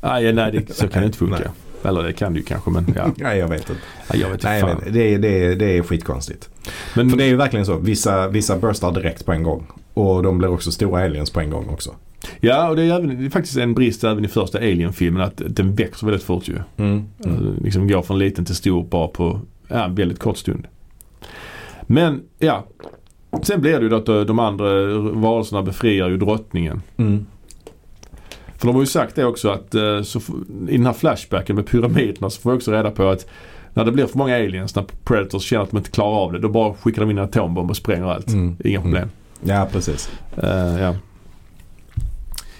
Nej, nej det, så kan det inte funka. Nej. Eller det kan det ju kanske men ja. Nej, jag vet inte. Mm. Ja, Jag vet inte Nej, fan. men det, är- det, är- det är skitkonstigt. men För det är ju verkligen så. Vissa, vissa burstar direkt på en gång. Och de blir också stora aliens på en gång också. Ja, och det är, även, det är faktiskt en brist även i första Alien-filmen att den växer väldigt fort ju. Mm. Alltså, Liksom går från liten till stor bara på ja, en väldigt kort stund. Men ja, sen blir det ju att eh, de andra varelserna befriar ju drottningen. Mm. För de har ju sagt det också att eh, så, f- i den här flashbacken med pyramiderna så får vi också reda på att när det blir för många aliens, när predators känner att de inte klarar av det, då bara skickar de in en atombomb och spränger allt. Mm. Inga problem. Ja, precis. Eh, ja.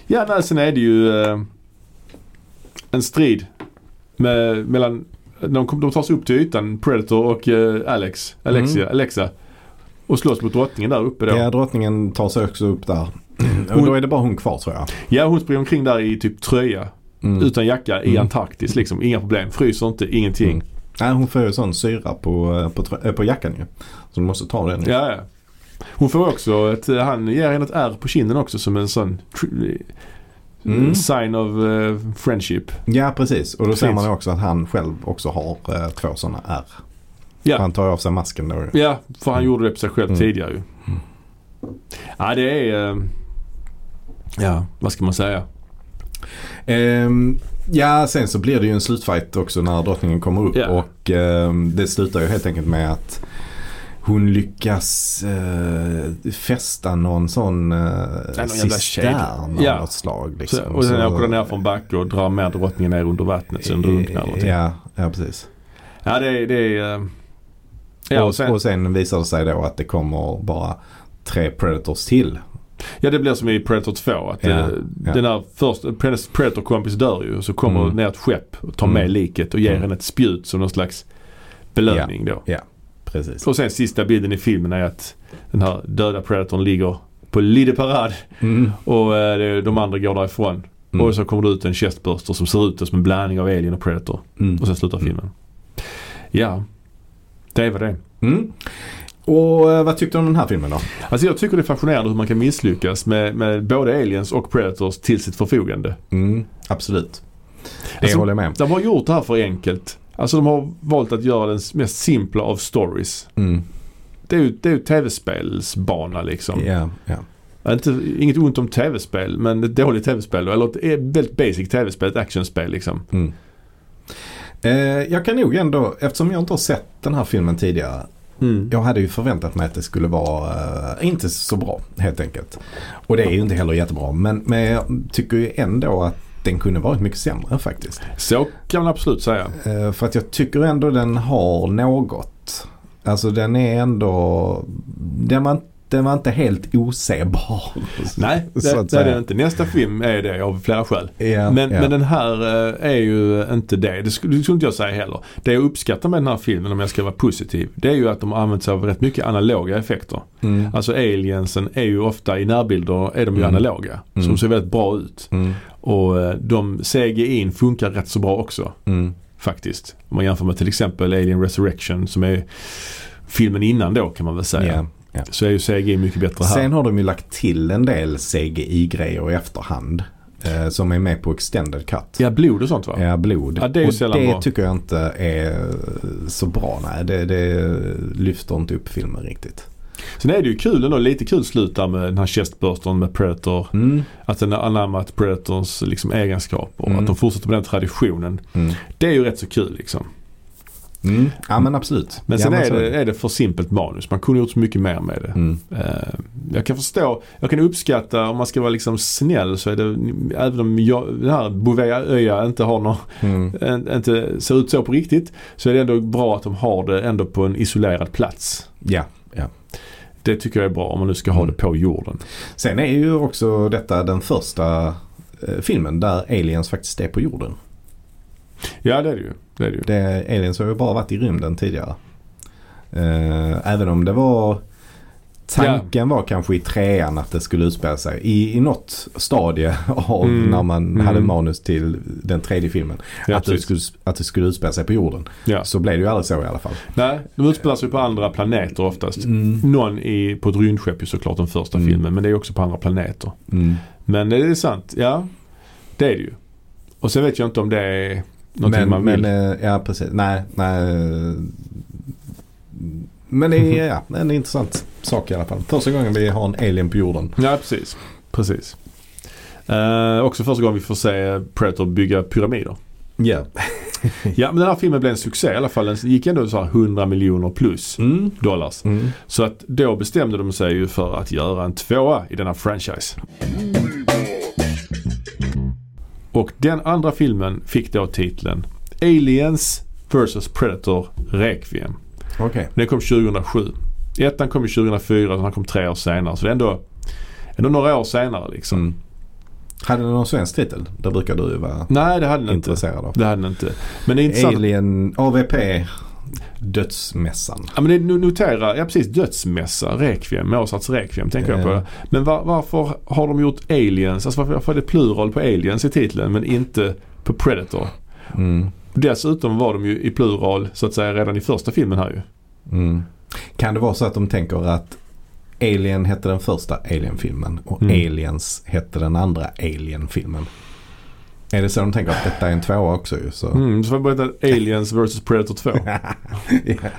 Ja, nej, sen är det ju eh, en strid med, mellan... De, kom, de tar sig upp till ytan, Predator och eh, Alex, Alexia, Alexa. Och slåss mot drottningen där uppe då. Mm. Ja, drottningen tar sig också upp där. Och då är det bara hon kvar tror jag. Ja, hon springer omkring där i typ tröja. Mm. Utan jacka i Mm. Antarktis liksom. Inga problem. Fryser inte, ingenting. Mm. Nej, hon får ju sån syra på, eh, på, trö- eh, på jackan ju. Så du måste ta den. ju. Ja, ja. Hon får också ett, eh, han ger henne ett R på kinden också som en sån tr- Mm. sign of eh, friendship. Ja, precis. Och då ser Precis. man ju också att han själv också har eh, två sådana ärr. Ja. Han tar ju av sig masken då ju. Ja, för han Mm. gjorde det på sig själv Mm. tidigare ju. Ja, det är... eh, Ja, vad ska man säga? Ehm, ja, sen så blir det ju en slutfight också när drottningen kommer upp. Ja. Och ehm, det slutar ju helt enkelt med att hon lyckas eh, fästa någon sån eh, jävla cistern av kedja. Ja. något slag. Liksom. Så, och sen Så- åker den ner från backen och drar med drottningen ner under vattnet så den drunknar. eller någonting. Ja, ja precis. Ja, det är... Det är eh, ja, och sen, och sen visar det sig då att det kommer bara tre predators till. ja, det blir som i Predator 2. Att, eh, Ja, ja. Den där första Pred- Predator-kompis dör ju och så kommer Mm. ner ett skepp och tar Mm. med liket och ger Mm. henne ett spjut som någon slags belöning då. Precis. Och sen sista bilden i filmen är att den här döda Predatorn ligger på Lide Parade Mm. Och eh, det- de andra går därifrån. Mm. Och så kommer det ut en chestburster som ser ut som en blandning av Alien och Predator. Mm. Och sen slutar filmen. Ja, det var det. Mm. Och eh, vad tyckte du om den här filmen då? Alltså jag tycker det är fascinerande hur man kan misslyckas med, med både aliens och predators till sitt förfogande. Mm. Absolut. Det Alltså, håller jag med om. De har gjort det här för enkelt. Alltså de har valt att göra den mest simpla av stories. Mm. Det är ju, det är ju tv-spelsbana liksom. Ja, ja. Inte, inget ont om tv-spel men ett dåligt tv-spel då, eller ett ett väldigt basic tv-spel, ett actionspel liksom. Mm. Eh, jag kan nog ändå, eftersom jag inte har sett den här filmen tidigare. Jag hade ju förväntat mig att det skulle vara eh, inte så bra helt enkelt. Och det är ju inte heller jättebra. Men, men jag tycker ju ändå att den kunde varit mycket sämre faktiskt. Så kan man absolut säga. Eh, för att jag tycker ändå den har något. Alltså den är ändå, den var, den var inte helt osebar. Nej, det, så att det är säga. den inte. Nästa film är det av flera skäl. Ja, Men, ja. men den här eh, är ju inte det. Det skulle, det skulle inte jag säga heller. Det jag uppskattar med den här filmen, om jag ska vara positiv, det är ju att de har använt sig av rätt mycket analoga effekter. Mm. Alltså aliensen är ju ofta i närbilder är de ju Mm. analoga. Mm. Som ser väldigt bra ut. Mm. Och eh, de CGI funkar rätt så bra också. Mm. Faktiskt. Om man jämför med till exempel Alien Resurrection som är filmen innan då kan man väl säga. Ja. Så är ju CGI mycket bättre här. Sen har de ju lagt till en del CGI-grejer i efterhand. Eh, som är med på extended cut. Ja, blod och sånt va? Ja, blod. Ja, det är ju och sällan det bra. tycker jag inte är så bra. Nej, det, det lyfter inte upp filmen riktigt. Sen är det ju kul ändå, lite kul slut där med den här chestburstern med Predator. Mm. Att den har anammat Predators liksom, egenskaper och Mm. att de fortsätter med den traditionen. Mm. Det är ju rätt så kul liksom. Mm. Ja, men absolut. Men ja, sen men är, så det, är det för simpelt manus. Man kunde gjort så mycket mer med det. Mm. Eh, jag kan förstå, jag kan uppskatta om man ska vara liksom snäll så är det, även om jag, den här Bouveia-öja inte har någon, Mm. en- inte ser ut så på riktigt. Så är det ändå bra att de har det ändå på en isolerad plats. Ja. Det tycker jag är bra om man nu ska ha Mm. det på jorden. Sen är ju också detta den första eh, filmen där aliens faktiskt är på jorden. Ja det är det ju. Det är det ju. Det, aliens har ju bara varit i rymden tidigare. Eh, även om det var Tanken var kanske i trean att det skulle utspela sig i, i något stadie av Mm. när man Mm. hade manus till den tredje filmen. Ja, att, det precis. skulle, att det skulle utspela sig på jorden. ja. Så blev det ju aldrig så i alla fall. Nej, de utspelar sig på andra planeter oftast. Någon i, på ett rymdskepp är såklart den första Mm. filmen men det är också på andra planeter. Mm. Men det är sant, ja. Det är det ju. Och sen vet jag inte om det är någonting Men, man vill. men eh, ja precis. Nej, nej. Men det är Mm. ja, en intressant sak i alla fall. Första gången vi har en alien på jorden. Ja, precis. Precis. Eh, också första gången vi får se Predator bygga pyramider. Ja. Ja, men den här filmen blev en succé i alla fall. Den gick ändå så här 100 miljoner plus Mm. dollars. Mm. Så att då bestämde de sig ju för att göra en tvåa i denna franchise. Och den andra filmen fick då titeln Aliens vs Predator Requiem. Okej. Den kom 2007. Ettan kom ju 2004 och den här kom tre år senare. Så det är ändå, ändå några år senare liksom. Mm. Hade den någon svensk titel? Det brukar du ju vara Nej det hade den inte. intresserad av. Det hade den inte. Men det är intressant. Alien, AVP, Dödsmässan. Ja men det är- notera, ja precis dödsmässa, Requiem, Mozarts Requiem tänker jag Ja. på. Men var, varför har de gjort aliens, alltså varför, varför är det plural på aliens i titeln men inte på Predator? Mm. Dessutom var de ju i plural så att säga redan i första filmen här ju. Mm. Kan det vara så att de tänker att Alien hette den första Alien-filmen och Mm. Aliens hette den andra Alien-filmen? Är det så de tänker att detta är en tvåa också ju? Så. Mm, så får jag berätta Aliens vs Predator 2. Ja.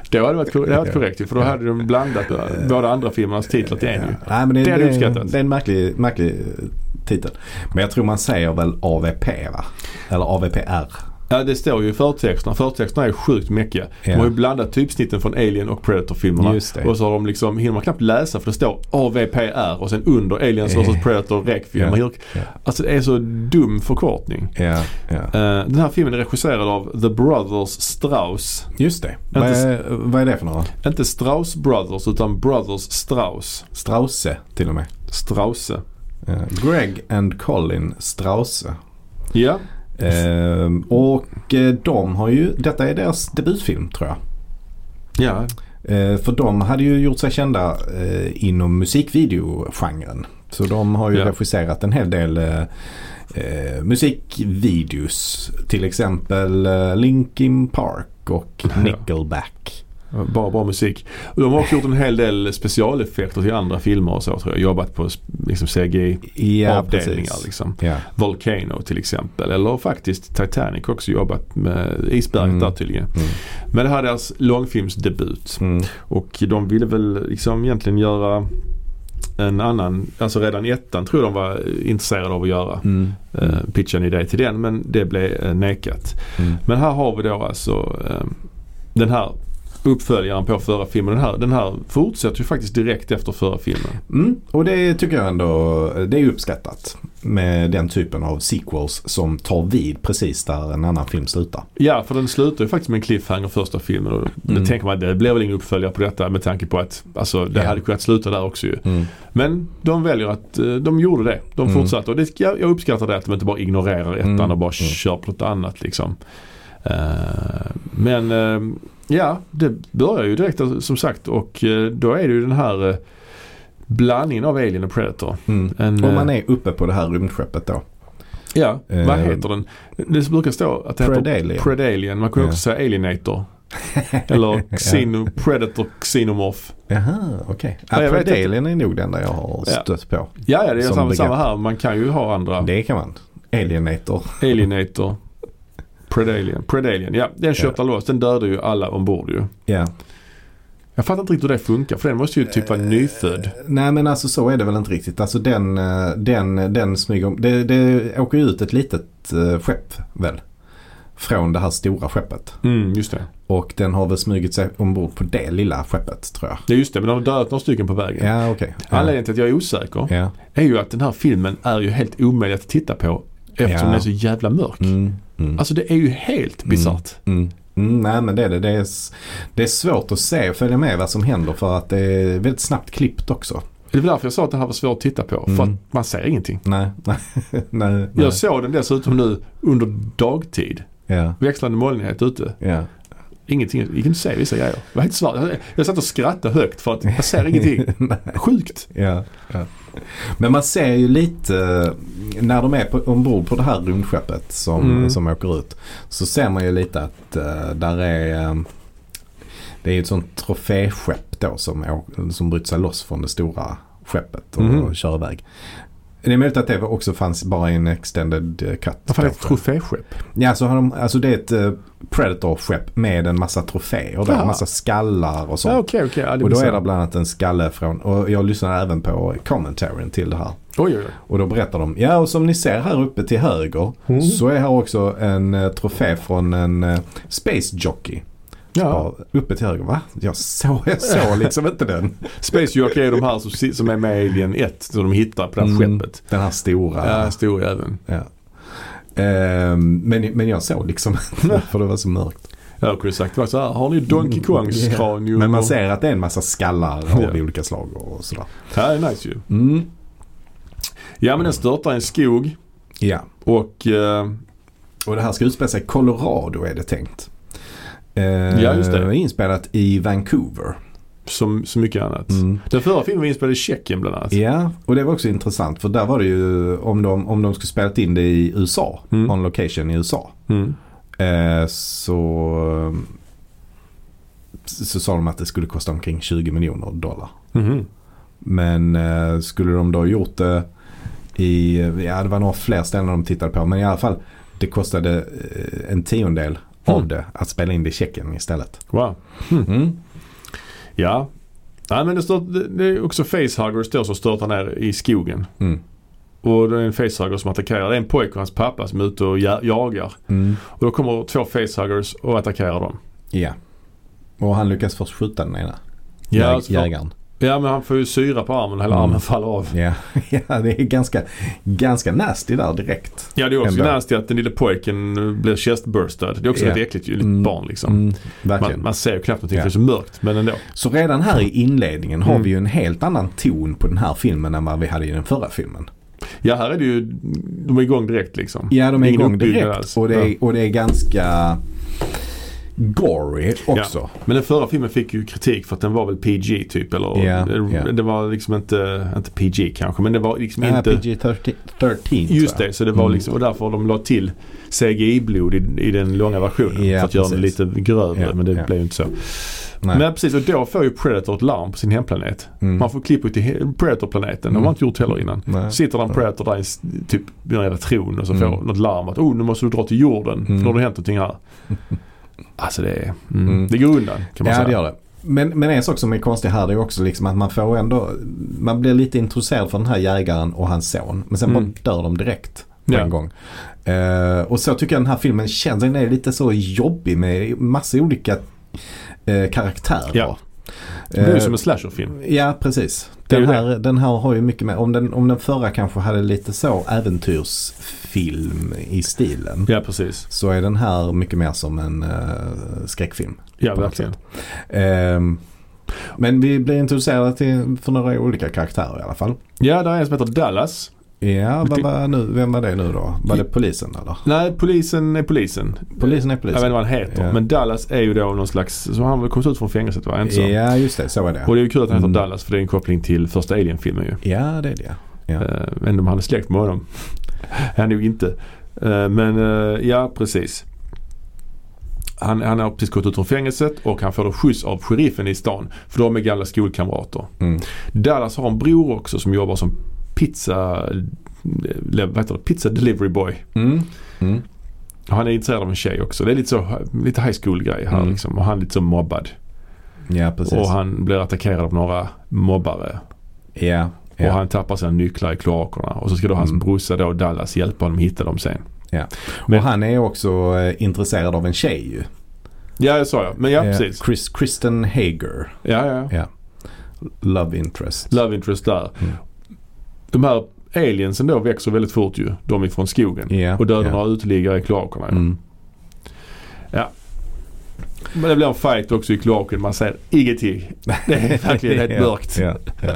Det hade varit, kor- det hade varit korrekt ju, för då hade de blandat eh, båda andra filmernas titlar till en ju. Nej, men det, Det det, hade det, är, uppskattats. det är en märklig, märklig eh, titel. Men jag tror man säger väl AVP va? Eller AVPR. Ja det står ju i förtexterna. Förtexterna är sjukt mäckiga. Ja. De har ju blandat typsnitten från Alien och Predator-filmerna. Just det. Och så har de liksom, hinner man knappt läsa för det står AVPR och sen under Aliens Eh. vs Predator Requiem. Ja. Man hinner- Ja. Alltså det är så dum förkortning. Ja, ja. Eh, den här filmen är regisserad av The Brothers Strauss. Just det. Vad Inte s- är, vad är det för några? Inte Strauss Brothers utan Brothers Strauss. Strause till och med. Strause. Eh, Greg and Colin Strause. Ja, Ehm, och eh, de har ju, detta är deras debutfilm tror jag. ja. Eh, för de hade ju gjort sig kända eh, inom musikvideogenren. Så de har ju Ja. regisserat en hel del eh, eh, musikvideos. Till exempel eh, Linkin Park och Ja. Nickelback. Bara bra musik. Och de har också gjort en hel del specialeffekter till andra filmer och så tror jag. Jobbat på liksom CGI-avdelningar Ja, precis. liksom. Ja. Volcano till exempel. Eller faktiskt Titanic också jobbat med isberget Mm. där tydligen. Mm. Men det här är deras långfilmsdebut. Mm. Och de ville väl liksom egentligen göra en annan, alltså redan i ettan tror jag de var eh, intresserade av att göra. Mm. Mm. pitcha en idé till den men det blev eh, nekat. Mm. Men här har vi då alltså eh, den här uppföljaren på förra filmen. Den här, den här fortsätter ju faktiskt direkt efter förra filmen. Mm, och det tycker jag ändå det är uppskattat. Med den typen av sequels som tar vid precis där en annan film slutar. Ja, för den slutar ju faktiskt med en cliffhanger första filmen. Och Mm. Då tänker man det blir väl ingen uppföljare på detta med tanke på att alltså, det Ja. hade kunnat sluta där också ju. Mm. Men de väljer att, eh, de gjorde det. De Mm. fortsatte och det, jag, jag uppskattar det att de inte bara ignorerar ettan Mm. och bara Mm. kör på något annat liksom. Eh, men eh, ja, det börjar ju direkt alltså, som sagt och eh, då är det ju den här eh, blandningen av Alien och Predator. En, Mm. Och man eh, är uppe på det här rymdskeppet då. Ja, Eh, vad heter den? Det brukar stå att det heter Predalien. Predalien. Man kunde Ja. också säga Alienator. Eller Xeno, Predator Xenomorph. Jaha, okej. Ja, jag Okay. vet inte. Predalien är nog den där jag har Ja. stött på. Ja, ja det är Som samma, begrepp. samma här. Man kan ju ha andra. Det kan man. Alienator. Alienator. Predalien. Predalien, ja. Den köpte loss. Den dödade ju alla ombord ju. Ja. Jag fattar inte riktigt hur det funkar för den måste ju typ vara Eh. nyfödd. Nej men alltså så är det väl inte riktigt. Alltså den, eh, den, den smyger om. Det, det åker ju ut ett litet eh, skepp väl? Från det här stora skeppet. Mm, just det. Och den har väl smugit sig ombord på det lilla skeppet tror jag. Ja, just det. Men de har dödat några stycken på vägen. Ja okej. Anledningen till att jag är osäker Ja. Ja. är ju att den här filmen är ju helt omöjlig att titta på eftersom Ja. den är så jävla mörk. Mm, mm, Alltså det är ju helt bisarrt. mm. Mm, nej men det är det. Det är, s- det är svårt att se och följa med vad som händer för att det är väldigt snabbt klippt också. Det är därför jag sa att den här var svår att titta på. För Mm. att man ser ingenting. Nej, nej, nej. Jag såg den dessutom nu under dagtid. Ja, Växlande molnighet ute. ja. Ingenting. Jag kunde inte se vissa grejer. Det var helt svart. Jag- Jag satt och skrattade högt för att jag ser ingenting. Nej. Sjukt. Ja, ja. Men man ser ju lite eh, när de är på, ombord på det här rymdskeppet som, Mm. som åker ut. Så ser man ju lite att eh, där är eh, det är ju ett sånt troféskepp då som, å- som bryter sig loss från det stora skeppet och Mm. kör iväg. Det är möjligt att det också fanns bara i en extended eh, cut. Vad fan är det? kanske. Troféskepp? Ja, så har de, alltså det är ett eh, Predator-skepp med en massa troféer. Då, Jaha. massa skallar och sånt. Ja, okej, okej. Ja, det Och då missade är jag. det bland annat en skalle från, och jag lyssnar även på commentaryn till det här. Oj, oj, oj. Och då berättar de, ja och som ni ser här uppe till höger Mm. så är här också en eh, trofé från en eh, Space Jockey. Ja. Ja. uppe till höger, va? Jag såg, jag såg liksom inte den. Space Jockey är de här som, si- som är med i Alien 1 som de hittar på det här Mm. Ah. skeppet. Den här stora. Ja, storjäveln. Ja. Ehm, men, men jag såg liksom inte för det var så mörkt. Jag kunde sagt bara så här, har ni Donkey Kongs Mm. Ja. kranium? Men man och- ser att det är en massa skallar av Ja. olika slag och sådär. Ja, det är nice ju. Mm. Ja, men den störtar i en skog Ja. och eh, Och det här ska utspela sig i Colorado är det tänkt. Eh, Ja, just det. är inspelat i Vancouver. som så mycket annat. Den förra filmen var inspelad i Tjeckien bland annat. Mm. Ja, och det var också intressant för där var det ju om de, om de skulle spelat in det i USA, Mm. on location i USA. Mm. Eh, så, så sa de att det skulle kosta omkring 20 miljoner dollar. Mhm. Men eh, skulle de då gjort det i, ja det var några fler ställen de tittade på. Men i alla fall, det kostade eh, en tiondel av Mm. det att spela in det i Tjeckien istället. Wow. Mm. Ja. Nej, men det, stört, det, det är också facehuggers då som störtar ner i skogen. Mm. Och det är en facehugger som attackerar. Det är en pojke och hans pappa som är ute och ja- jagar. Mm. Och då kommer två facehuggers och attackerar dem. Ja. Och han lyckas först skjuta den ena. Ja, alltså Jäg- så får- jägaren. ja men han får ju syra på armen. Hela Mm. armen faller av. Ja. ja, det är ganska, ganska nasty där direkt. Ja det är också Ändå. nasty att den lilla pojken eh, blir chestburstad. Det är också Ja. lite äckligt ju. Lite Mm. barn liksom. Mm, verkligen. Man, man ser ju knappt någonting Ja. för det är så mörkt. Men ändå. Så redan här i inledningen har Mm. vi ju en helt annan ton på den här filmen än vad vi hade i den förra filmen. Ja här är det ju. De är igång direkt liksom. Ja, de är Ingen igång uppbyggnad direkt alls. och det, alltså. Ja. är, och det är ganska gory också. Men den förra filmen fick ju kritik för att den var väl PG typ. Eller, Ja, det, ja. det var liksom inte, inte PG kanske men det var liksom Ja. inte. PG-13 13, tror Just jag. det, så det var Mm. liksom, och därför de la till CGI-blod i, i den långa versionen. Ja, för att göra den precis. lite grövre Ja, men det ja. blev ju inte så. Nej. Men precis, och då får ju Predator ett larm på sin hemplanet. Mm. Man får klippa ut till he- Predator-planeten. Det har Mm. man inte gjort heller innan. Nej. Sitter där en Predator där i s- typ i en jävla tron och så Mm. får något larm att oh nu måste du dra till jorden för Mm. nu har det hänt någonting här. Alltså det är, mm, Mm. det går undan kan man Ja, säga. det gör det. Men, men en sak som är konstig här det är också liksom att man får ändå, man blir lite intresserad för den här jägaren och hans son. Men sen Mm. bara dör de direkt på Ja. en gång. Eh, och så tycker jag den här filmen känns, den är lite så jobbig med massa olika eh, karaktärer. Ja. Det är Eh, ju som en slasherfilm. Ja, precis. Det är Den ju här, den här har ju mycket mer, om den, om den förra kanske hade lite så äventyrsfilm i stilen. Ja precis. Så är den här mycket mer som en eh, skräckfilm. Ja På något verkligen. Ehm, men vi blir introducerade till, för några olika karaktärer i alla fall. Ja, där är en som heter Dallas. Ja, vad var nu, vem var det nu då? Var det polisen eller? Nej, polisen är polisen. Polisen är Jag vet polisen. inte vad han heter. Ja. Men Dallas är ju då någon slags, så han har väl kommit ut från fängelset va? Är Inte så? Ja, just det. Så är det. Och det är ju kul att han heter Mm. Dallas för det är en koppling till första Alien-filmen ju. Ja, det är det. Ja. Eh, Ändå om han är släkt med honom. Han nog inte. Eh, men eh, ja, precis. Han, han har precis gått ut från fängelset och han får då skjuts av sheriffen i stan. För de är gamla skolkamrater. Mm. Dallas har en bror också som jobbar som pizza, le- vad heter det? pizza delivery boy. Mm. Mm. Och Han är intresserad av en tjej också. Det är lite, så, lite high school grej här Mm. liksom. Och han är lite så mobbad. Ja, precis. Och han blir attackerad av några mobbare. ja, ja. Och han tappar sina nycklar i kloakerna. Och så ska då hans Mm. brorsa då Dallas hjälpa honom hitta dem sen. och han är också eh, intresserad av en tjej ju. Ja det sa jag. Men ja Eh, precis. Chris, Kristen Hager. Ja, ja. ja. Love interest. Love interest där. Mm. De här aliensen då växer väldigt fort ju. De ifrån skogen. Ja, Och dödar ja. några uteliggare i kloakerna. Mm. Men det blir en fight också i kloaken. Man ser ingenting. Det är verkligen helt Ja, mörkt. ja, ja.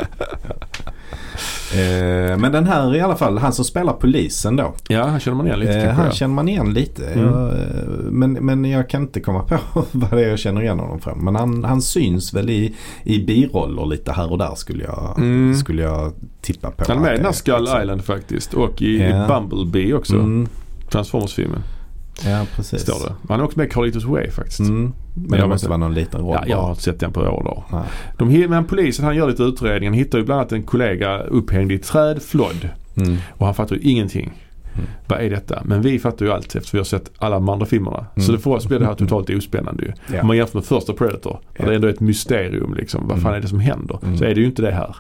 Eh, Men den här i alla fall, han som spelar polisen då. Ja, han känner man igen lite Eh, kanske. han ja. känner man igen lite. Mm. Jag, eh, men, men jag kan inte komma på vad det är jag känner igen honom från. Men han, han syns väl i, i biroller lite här och där skulle jag, Mm. skulle jag tippa på. Han är att med i det den här Skull liksom. Island faktiskt. Och i, i Ja. Bumblebee också. Mm. Transformers-filmen. Ja, precis. Står det. Han är också med i Carlitos Way faktiskt. Mm. Men det jag måste vet- vara någon liten roll. Ja, jag har inte sett den på år då. Nej. De, hi- men polisen han gör lite utredning. Han hittar ju bland annat en kollega upphängd i ett träd, flodd. Mm. Och han fattar ju ingenting. Mm. Vad är detta? Men vi fattar ju allt eftersom vi har sett alla de andra filmerna. Så Mm. det för oss blir det här totalt ospännande ju. Ja. Om man jämför med första Predator. Där Ja. det är ändå är ett mysterium liksom. Vad fan är det som händer? Mm. Så är det ju inte det här.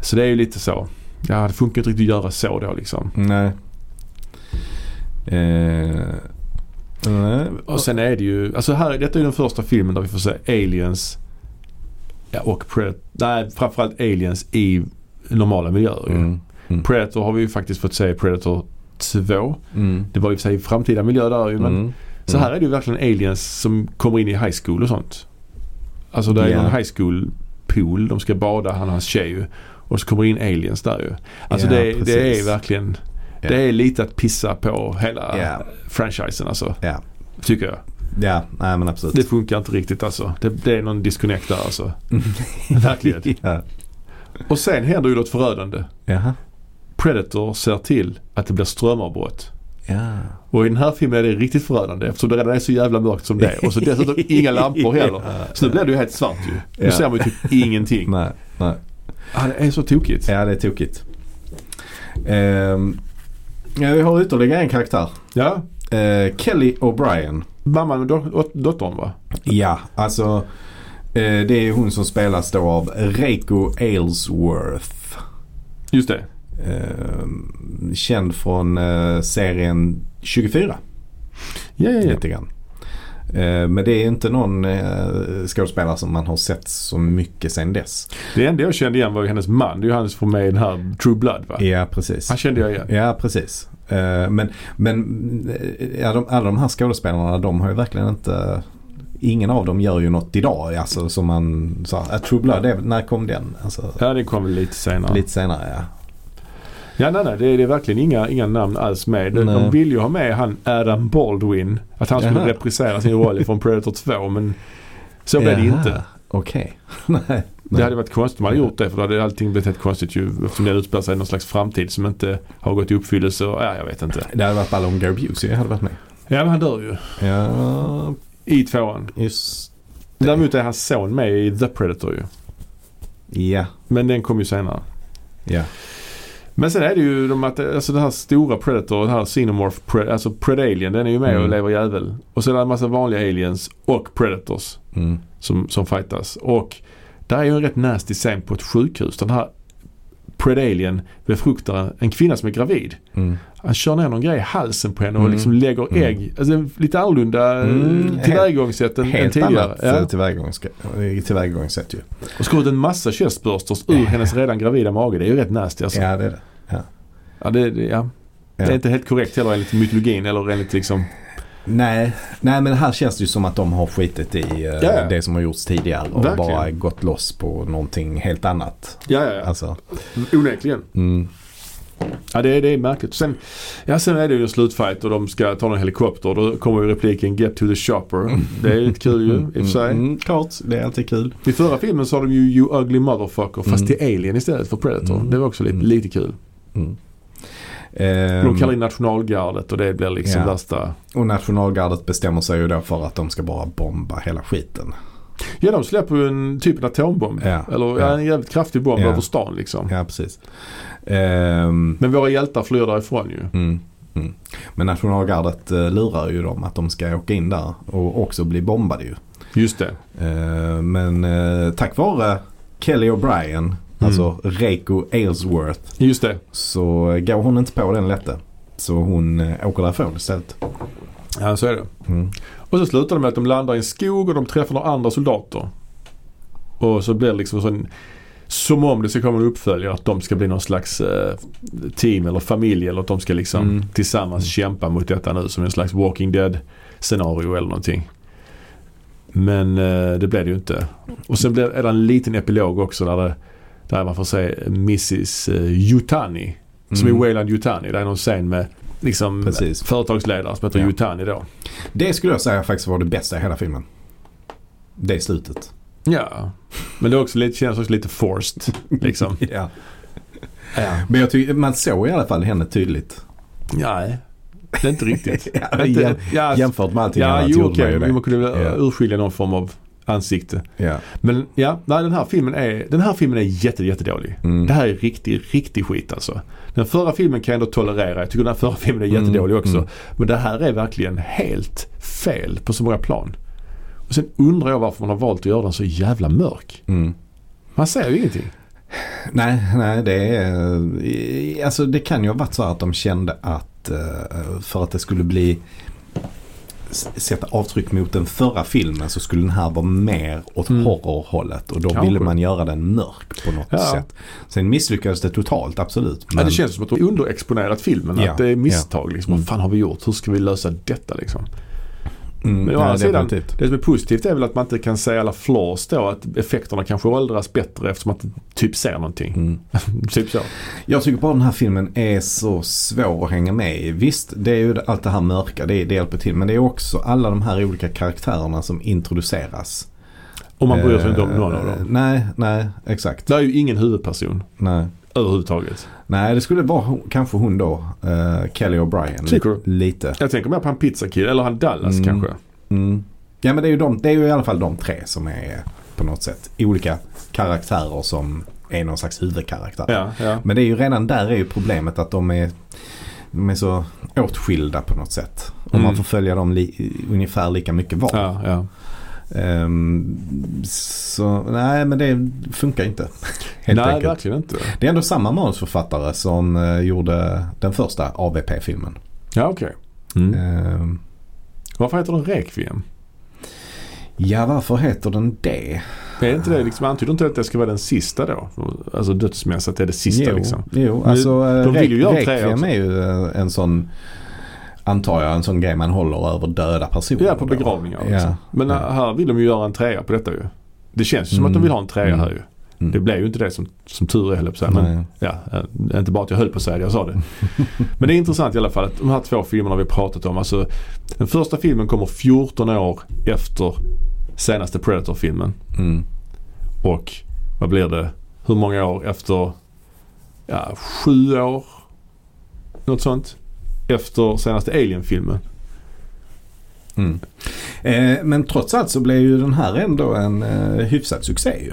Så det är ju lite så. Ja, det funkar inte riktigt att göra så då liksom. Nej. Eh, nej. Och sen är det ju, alltså här, detta är ju den första filmen där vi får se aliens ja, och Predator. Nej, framförallt aliens i normala miljöer ju. Mm. Mm. Predator har vi ju faktiskt fått se i Predator 2. Mm. Det var i och för sig framtida miljö där ju men Mm. så här är det ju verkligen aliens som kommer in i high school och sånt. Alltså det är Ja. en high school pool, de ska bada, han och hans tjej ju. Och så kommer det in aliens där ju. Alltså Ja, det, det är precis. verkligen, Ja. det är lite att pissa på hela Ja. franchisen alltså. Ja. Tycker jag. Ja, nej men absolut. Det funkar inte riktigt alltså. Det, det är någon disconnect där alltså. Verkligen. Ja. Och sen händer ju något förödande. Jaha. Predator ser till att det blir strömavbrott. Ja. Och i den här filmen är det riktigt förödande eftersom det redan är så jävla mörkt som det är. Och så dessutom inga lampor heller. Så nu blir det ju helt svart ju. Nu Ja. ser man ju typ ingenting. Nej, nej. Ah, det är så tokigt. Ja, det är tokigt. Ehm, ja, vi har ytterligare en karaktär. Ja. Eh, Kelly O'Brien. Mamman och dot- dot- dottern va? Ja, alltså eh, det är hon som spelas då av Reiko Aylesworth. Just det. Ehm, känd från eh, serien 24. Ja, ja, ja. lite grann. Eh, Men det är inte någon eh, skådespelare som man har sett så mycket sen dess. Det enda jag kände igen var ju hennes man. Det är ju han som får med i den här True Blood va? Ja, precis. Han kände jag igen. Ja, precis. Eh, Men, men eh, ja, de, alla de här skådespelarna de har ju verkligen inte... Ingen av dem gör ju något idag. Alltså som man sa, "Ah, True Blood, det, när kom den? Alltså, Ja, det kom väl lite senare. Lite senare ja. Ja, nej, nej. Det är, det är verkligen inga, inga namn alls med. De, de Nej. vill ju ha med han Adam Baldwin. Att han skulle Jaha. reprisera sin roll från Predator 2 men så blev det Jaha, inte. Okej. Nej. Det hade varit konstigt om man hade gjort det för då hade allting blivit helt konstigt ju eftersom det utspelar sig i någon slags framtid som inte har gått i uppfyllelse. Och, ja, jag vet inte. Det hade varit ball om Gary Busey hade varit med. Ja, men han dör ju Ja, i tvåan. just Däremot är hans son med i The Predator ju. Ja, Men den kom ju senare. ja. Men sen är det ju de att, alltså den här stora Predator, den här Xenomorph, Pred, alltså Predalien, den är ju med och Mm. lever jävel. Och sen är det en massa vanliga aliens och Predators. Mm. som, som fightas. Och där är ju en rätt nasty scen på ett sjukhus. Den här Predalien befruktar en kvinna som är gravid. Mm. Han kör ner någon grej i halsen på henne och Mm. liksom lägger Mm. ägg. Alltså det är lite annorlunda eh, Mm, tillvägagångssätt än, än Helt tidigare. annat ja. Ja. tillvägagångssätt ju. Och skar ut en massa chestbursters ur hennes redan gravida mage. Det är ju rätt nasty alltså. Ja. Ja, det är det, det. det, ja. det är Ja. inte helt korrekt heller enligt mytologin eller enligt liksom... Nej, nej, men här känns det ju som att de har skitit i eh, ja. det som har gjorts tidigare och Verkligen. bara gått loss på någonting helt annat. Ja, ja, ja. Alltså, Onekligen. mm, Ja det, är- det är märkligt. Sen, ja, sen är det ju en slutfight och de ska ta någon helikopter. Då kommer ju repliken “Get to the shopper”. Det är ju lite kul ju i och för sig. mm, klart, det är alltid kul. I förra filmen sa de ju “You ugly motherfucker” fast Mm. till Alien istället för Predator. Mm. Det var också lite, lite kul. Mm. Ehm, De kallar in nationalgardet och det blir liksom Ja. värsta... och nationalgardet bestämmer sig ju då för att de ska bara bomba hela skiten. Ja, de släpper ju en typ en atombomb. Ja. Eller Ja. ja. en jävligt kraftig bomb Ja. över stan liksom. Ja, precis. Ehm, Men våra hjältar flyr därifrån ju. Mm. Mm. Men nationalgardet eh, lurar ju dem att de ska åka in där och också bli bombade ju. Just det. Eh, men eh, tack vare Kelly O'Brien, Mm. alltså Reiko Aylesworth, Just det. så går hon inte på den lätte. Så hon eh, åker därifrån istället. Ja, så är det. Mm. Och så slutar det med att de landar i en skog och de träffar några andra soldater. Och så blir det liksom sån, som om det ska komma en uppföljare att de ska bli någon slags eh, team eller familj eller att de ska liksom Mm. tillsammans kämpa mot detta nu som en slags Walking Dead scenario eller någonting. Men eh, det blev det ju inte. Och sen blev, är det en liten epilog också där, det, där man får se Mrs eh, Yutani. Som Mm. är Wayland Yutani. Det är någon scen med liksom, Precis. företagsledare som heter Ja. Yutani då. Det skulle jag säga faktiskt var det bästa i hela filmen. Det är slutet. Ja, men det är också lite, känns också lite forced. Liksom. Ja. ja. Men jag tycker man såg i alla fall henne tydligt. Nej, det är inte riktigt. Ja, Det är jäm, inte, ja, jämfört med allting ja, annat jo gjorde man okej, ju okay. det. man kunde Ja. yeah. urskilja någon form av ansikte. Ja. Men ja, nej, den här filmen är, den här filmen är jätte, jättedålig. Mm. Det här är riktig, riktig skit alltså. Den förra filmen kan jag ändå tolerera. Jag tycker den här förra filmen är jättedålig också. mm. Men det här är verkligen helt fel på så många plan. Och sen undrar jag varför man har valt att göra den så jävla mörk. Mm. Man ser ju ingenting. Nej, nej det, är, eh, alltså det kan ju ha varit så här att de kände att eh, för att det skulle bli s- sätta avtryck mot den förra filmen så skulle den här vara mer åt Mm. horrorhållet och då Kanske. ville man göra den mörk på något Ja. sätt. Sen misslyckades det totalt, absolut. Ja, men- det känns som att de underexponerat filmen. Ja, Att det är misstag. Liksom. Mm. Vad fan har vi gjort? Hur ska vi lösa detta? Liksom? mm, Men å nej, andra sidan, definitivt. det som är positivt är väl att man inte kan säga alla flaws då. Att effekterna kanske åldras bättre eftersom man inte typ ser någonting. Mm. typ så. Jag tycker bara den här filmen är så svår att hänga med i. Visst, det är ju allt det här mörka, det, det hjälper till. Men det är också alla de här olika karaktärerna som introduceras. Och man bryr sig inte om Eh, någon av dem. Nej, nej, exakt. Det är ju ingen huvudperson Nej. överhuvudtaget. nej, det skulle vara hon, kanske hon då, eh, Kelly O'Brien. Tycker du? Lite. Jag tänker mer på han pizzakillen, eller han Dallas Mm. kanske. Mm. Ja, men det är, ju de, det är ju i alla fall de tre som är eh, på något sätt olika karaktärer som är någon slags huvudkaraktär. Ja, ja. Men det är ju redan där är ju problemet att de är, de är så åtskilda på något sätt. Och Mm. man får följa dem li, ungefär lika mycket var. Ja, ja. Ehm, så nej, men det funkar inte. Helt Nej, enkelt. verkligen inte. Det är ändå samma manusförfattare som eh, gjorde den första AVP-filmen. Ja, okej. Mm. Ehm, Varför heter den Requiem? ja, varför heter den det? Är inte det liksom, antyder inte det att det ska vara den sista då? Alltså dödsmässigt, det är det sista jo, liksom. jo, Nu- alltså de vill ju göra tre Requiem också. är ju eh, en sån, antar jag, en sån grej man håller över döda personer. Ja, på då. begravningar. Ja. Liksom. Men Ja. här vill de ju göra en trea på detta ju. Det känns ju som Mm. att de vill ha en trea Mm. här ju. Mm. Det blev ju inte det som, som tur är höll jag på att säga. Men, Nej. ja, eh, inte bara att jag höll på att säga det, jag sa det. Men det är intressant i alla fall att de här två filmerna vi har pratat om. Alltså, den första filmen kommer 14 år efter senaste Predator-filmen. Mm. Och vad blir det? Hur många år efter? Ja, sju år. Något sånt. Efter senaste Alien-filmen. Mm. Eh, men trots allt så blev ju den här ändå en eh, hyfsad succé ju.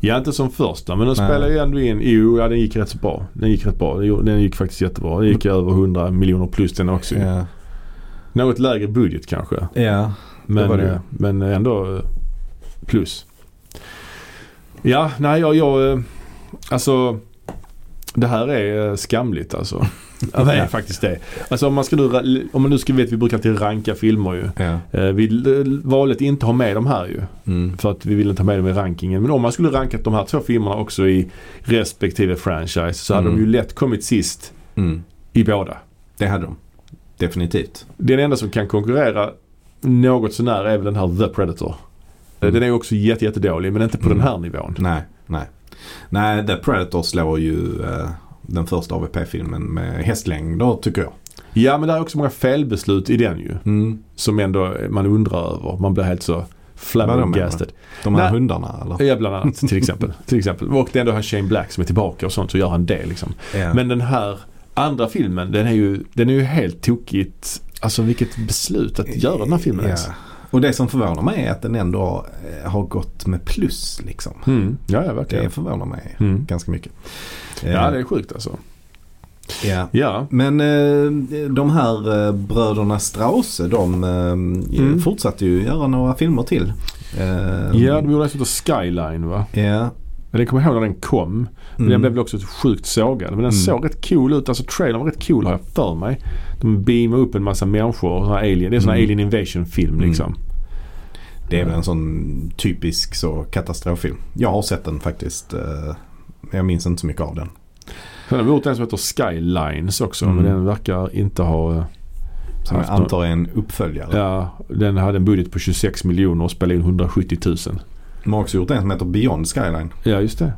Ja, inte som första men den Nej. spelar ju ändå in. Jo, ja, den gick rätt så bra. Den gick rätt bra. Den gjorde- Den gick faktiskt jättebra. Den gick över 100 miljoner plus den också. ju. Mm. Ja, Något lägre budget kanske. ja. Men, var det ju. eh, men ändå eh, plus. Ja, nej jag, jag eh, alltså det här är eh, skamligt alltså. Ja, det är Ja. faktiskt det. Alltså om man, ska nu, ra- om man nu ska veta, vi brukar alltid ranka filmer ju. ja. Eh, Vi l- valde att inte ha med de här ju. Mm. För att vi ville inte ha med dem i rankingen. Men om man skulle rankat de här två filmerna också i respektive franchise så hade Mm. de ju lätt kommit sist Mm. i båda. Det hade de. Definitivt. Den enda som kan konkurrera något sånär är väl den här The Predator. Mm. Den är också jätte, jättedålig men inte på Mm. den här nivån. Nej, nej. Nej, The Predator slår ju eh, den första AVP-filmen med hästlängder tycker jag. Ja men det är också många felbeslut i den ju. Mm. Som ändå man undrar över. Man blir helt så Vad de menar? flabbergasted. De här Nej. hundarna eller? Ja bland annat till exempel. till exempel. Och det är ändå han Shane Black som är tillbaka och sånt så gör han det liksom. Ja. Men den här Andra filmen den är ju, den är ju helt tokigt. Alltså vilket beslut att göra den här filmen ens. Ja. Och det som förvånar mig är att den ändå eh, har gått med plus liksom. Mm. Ja, ja Det verkligen. förvånar mig Mm. ganska mycket. Ja Eh, det är sjukt alltså. ja. Ja. Men eh, de här eh, bröderna Strauss de eh, Mm. fortsatte ju göra några filmer till. Eh, Ja, de gjorde en som heter Skyline va? ja. Men det kommer jag ihåg när den kom. Men Den Mm. blev väl också sjukt sågad. Men den Mm. såg rätt cool ut. Alltså trailern var rätt cool har jag för mig. De beamade upp en massa människor. Och såna här alien. Det är sån här Mm. alien invasion film Mm. liksom. Det är väl en sån typisk så katastroffilm. Jag har sett den faktiskt. eh, men Jag minns inte så mycket av den. Sen har vi gjort en som heter Skylines också. Mm. Men den verkar inte ha... eh, Som jag haft någon- antar är en uppföljare. Ja, den hade en budget på 26 miljoner och spelade in 170 000. De har också gjort en som heter Beyond Skyline. Ja, just det.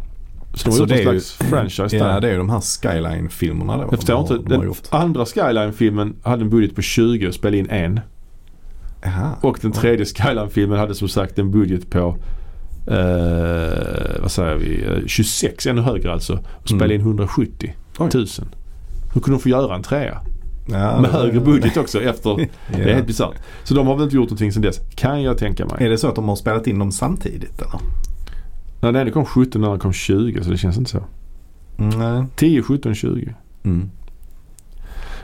Så de har gjort Så Alltså, det en är ju- slags franchise där. Ja, det är ju de här Skyline-filmerna då. jag förstår de har, inte. De har Den gjort. andra Skyline-filmen hade en budget på 20 och spelade in en. Aha. Och den tredje Skyline-filmen hade som sagt en budget på eh, vad säger vi, eh, 26, ännu högre alltså. Och spelade Mm. in 170 Oj. 000. Hur kunde de få göra en trea? Ja, Med det- högre budget också efter. Ja. Det är helt bisarrt. Så de har väl inte gjort någonting sedan dess, kan jag tänka mig. Är det så att de har spelat in dem samtidigt eller? Nej, nej, det kom 17 när den kom 20 så det känns inte så. Nej. 10, 17, 20. Mm.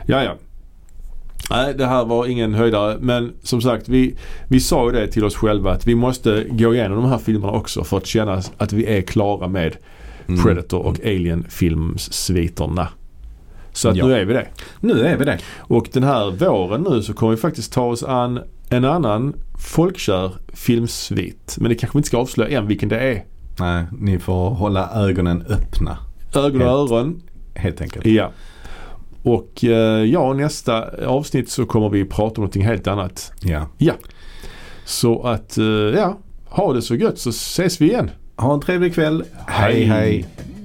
Ja, ja. Nej, det här var ingen höjdare. Men som sagt, vi, vi sa ju det till oss själva att vi måste gå igenom de här filmerna också för att känna att vi är klara med Mm. Predator och Alien-filmssviterna. Så att Ja. nu är vi det. Nu är vi det. Och den här våren nu så kommer vi faktiskt ta oss an en annan folkkär filmsvit. Men det kanske vi inte ska avslöja än vilken det är. Nej, ni får hålla ögonen öppna Ögon och öron. helt enkelt. Ja. Mm. Och eh, ja, nästa avsnitt så kommer vi prata om någonting helt annat. Ja. Så att eh, ja, ha det så gött så ses vi igen. Ha en trevlig kväll. hej. hej.